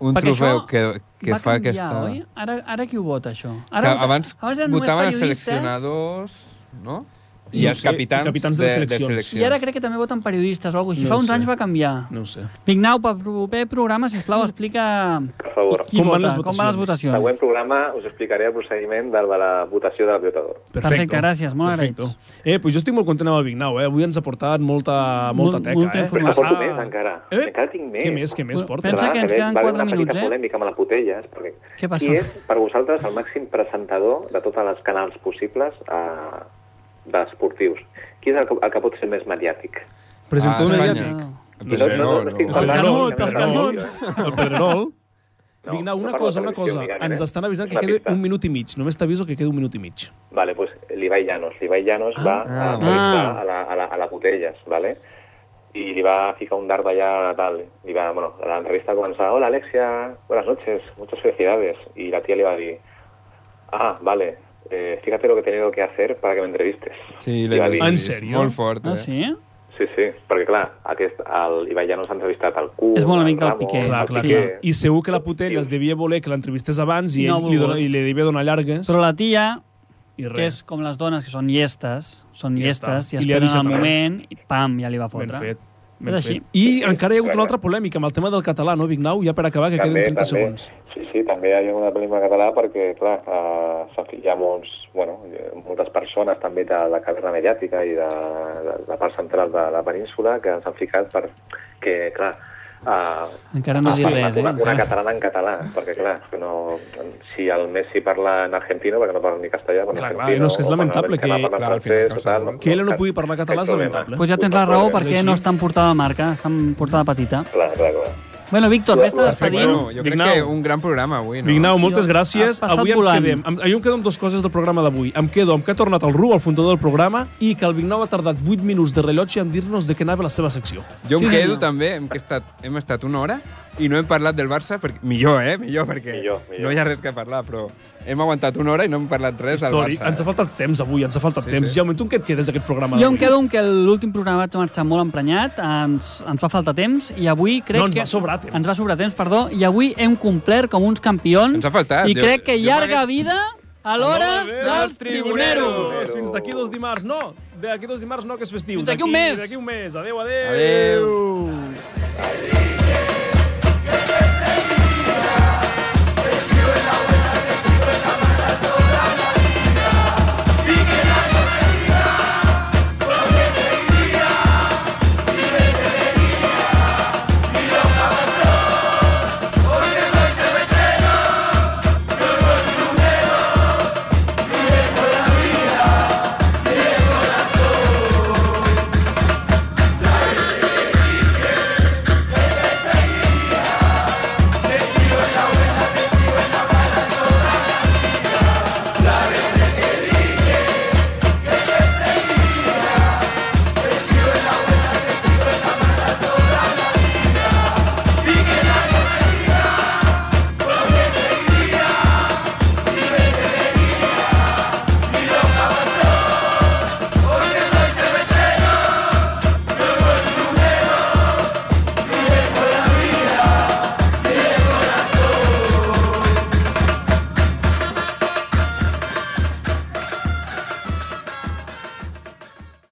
S3: un
S2: Perquè
S3: trofeu
S2: això
S3: que, que
S2: va
S3: fa
S2: canviar,
S3: aquesta...
S2: Oi? Ara, ara qui ho vota, això?
S3: Ara,
S2: Ara,
S3: que abans,
S2: eren només
S3: votaven els
S2: periodistes,
S3: seleccionadors, no? I
S1: No
S3: els
S1: sé, i
S3: capitans,
S1: capitans de
S3: de,
S1: seleccions.
S3: de
S2: I
S3: selecció.
S2: ara crec que també voten periodistes o alguna cosa així.
S1: No
S2: Fa
S1: ho
S2: uns
S1: sé.
S2: anys va canviar.
S1: No ho sé.
S2: Vignau, pel proper programa, sisplau, explica
S8: Per favor.
S2: qui
S1: Com van
S2: vota,
S1: les
S2: com van
S1: votacions?
S2: les votacions.
S8: Següent programa us explicaré el procediment de la votació de la pilota d'or.
S1: Perfecte.
S2: Perfecte, gràcies, molt
S1: Perfecte.
S2: agraïts.
S1: Eh, pues jo estic molt content amb el Vignau, eh? Avui ens ha portat molta, molta
S2: Mol-
S1: teca,
S2: molta
S1: eh?
S2: informació.
S8: Però porto
S1: Ah.
S8: més, encara.
S1: Eh?
S8: Encara tinc més.
S1: Què més, què més
S2: Bueno,
S1: porta?
S2: pensa
S8: Clar,
S2: que ens
S8: ve-
S2: queden
S8: va haver
S2: quatre
S8: una
S2: minuts,
S8: petita
S2: eh?
S8: polèmica amb la Putelles, perquè
S2: Què passa?
S8: qui és per vosaltres el màxim presentador de tots els canals possibles eh, d'esportius? Qui és el que, el que pot ser més mediàtic?
S1: Presentador
S3: Ah,
S1: mediàtic.
S2: Espanya.
S3: El Pedrerol,
S8: estic
S3: no?
S1: El
S8: parlant
S1: Canut,
S8: únicament
S1: el
S8: de la
S1: Canut.
S8: televisió.
S1: El Pedrerol.
S8: No,
S1: Vignau,
S8: no
S1: una
S8: parlo
S1: cosa,
S8: de
S1: una
S8: televisió,
S1: cosa.
S8: Miguel,
S1: Ens
S8: eh?
S1: estan avisant que
S8: Una
S1: queda
S8: pista.
S1: un minut i mig. Només t'aviso que queda un minut i mig.
S8: Vale, pues l'Ibai Llanos. L'Ibai Llanos va
S3: ah,
S8: a entrevistar
S2: ah.
S8: a, la, a, la, a la Botelles, vale? I li va ficar un dard allà, tal. Li va, bueno, la entrevista començava, hola Alexia, buenas noches, muchas felicidades. Y la tía le va a decir, ah, vale, eh, fíjate lo que he tenido que hacer para que me entrevistes.
S3: Sí,
S8: I va dir,
S1: En
S3: en
S1: sèrio?
S3: Molt fort, eh?
S2: Ah, sí?
S8: sí, sí, perquè clar, aquest, el Ibai Llanos ha entrevistat al Q,
S2: És molt amic del Piqué.
S8: Eh,
S1: Clar, clar,
S2: Sí.
S1: clar. I segur que la Putella es devia voler que l'entrevistés abans i,
S2: I no
S1: ell li,
S2: ha volgut.
S1: dona, i li devia donar llargues
S2: Però la tia,
S1: i
S2: que
S1: res.
S2: és com les dones que són llestes, són
S1: Ja
S2: llestes,
S1: està.
S2: i
S1: I li ha
S2: esperen
S1: deixat
S2: el
S1: res.
S2: moment, i pam, ja li va
S1: Ben
S2: fotre.
S1: fet. Ben
S2: És així.
S1: fet. I encara hi ha hagut una altra polèmica amb el tema del català, no, Vignau? Ja per acabar, que queden 30 segons.
S8: Sí, sí, també hi ha una pel·lícula català perquè, clar, eh, s'ha fi- hi ha molts, bueno, eh, moltes persones també de la caverna mediàtica i de, de, la part central de la península que s'han ficat per que, clar, eh,
S2: Encara no
S8: a
S2: has dit
S8: parlar
S2: res, eh?
S8: una, una
S2: Encara.
S8: catalana en català, perquè clar, no, si el Messi parla en argentino, perquè no parla ni castellà, parla
S1: Clar,
S8: en
S1: clar,
S8: argentino,
S1: no, és que és
S8: o parla
S1: lamentable
S8: mexicà,
S1: que-
S8: parla
S3: clar, al
S8: francès,
S3: final,
S8: total,
S3: qualsevol.
S1: Que ella no
S8: cap-
S1: pugui parlar català
S8: cap
S1: és
S8: problema.
S1: lamentable.
S2: Pues ja tens la raó, perquè no estan portada de marca, estan portada petita.
S8: Clar, clar, clar.
S2: Bueno, Víctor, vés-te
S3: Perfecte,
S2: despedint.
S3: bueno, jo crec
S1: Vignau.
S3: que un gran programa avui, no?
S1: Vignau, moltes
S2: Jo-
S1: gràcies.
S2: ha passat
S1: Avui ens
S2: volant.
S1: quedem... Amb, jo em quedo amb dues coses del programa d'avui. Em quedo amb que ha tornat el Ru, el fundador del programa, i que el Vignau ha tardat 8 minuts de rellotge en dir-nos de què anava la seva secció.
S3: Jo em
S2: Sí,
S3: quedo
S2: senyor.
S3: també, hem, que estat, hem estat una hora i no hem parlat del Barça, perquè, millor, eh? Millor, perquè
S8: Millor, millor.
S3: no hi ha res que parlar, però hem aguantat una hora i no hem parlat res del
S1: Històric.
S3: Barça. eh?
S1: Ens ha faltat temps avui, ens ha faltat
S3: Sí,
S1: temps.
S3: sí.
S1: Jaume, tu en què et quedes d'aquest programa
S2: Jo em
S1: d'avui?
S2: quedo amb que l'últim programa vaig marxar molt emprenyat, ens, ens va faltar temps, i avui crec
S1: No, ens
S2: que...
S1: va sobrar temps.
S2: Ens va sobrar temps, perdó, i avui hem complert com uns campions.
S3: Ens ha faltat,
S2: I
S3: jo-
S2: crec que
S3: jo
S2: llarga
S3: m'hagués-
S2: vida a l'hora dels tribuneros.
S1: Tribuneros! Fins d'aquí dos dimarts, no! D'aquí dos dimarts no, que és festiu.
S2: Fins d'aquí un mes.
S1: D'aquí un mes. Adéu, adéu!
S3: Adéu.
S1: adéu.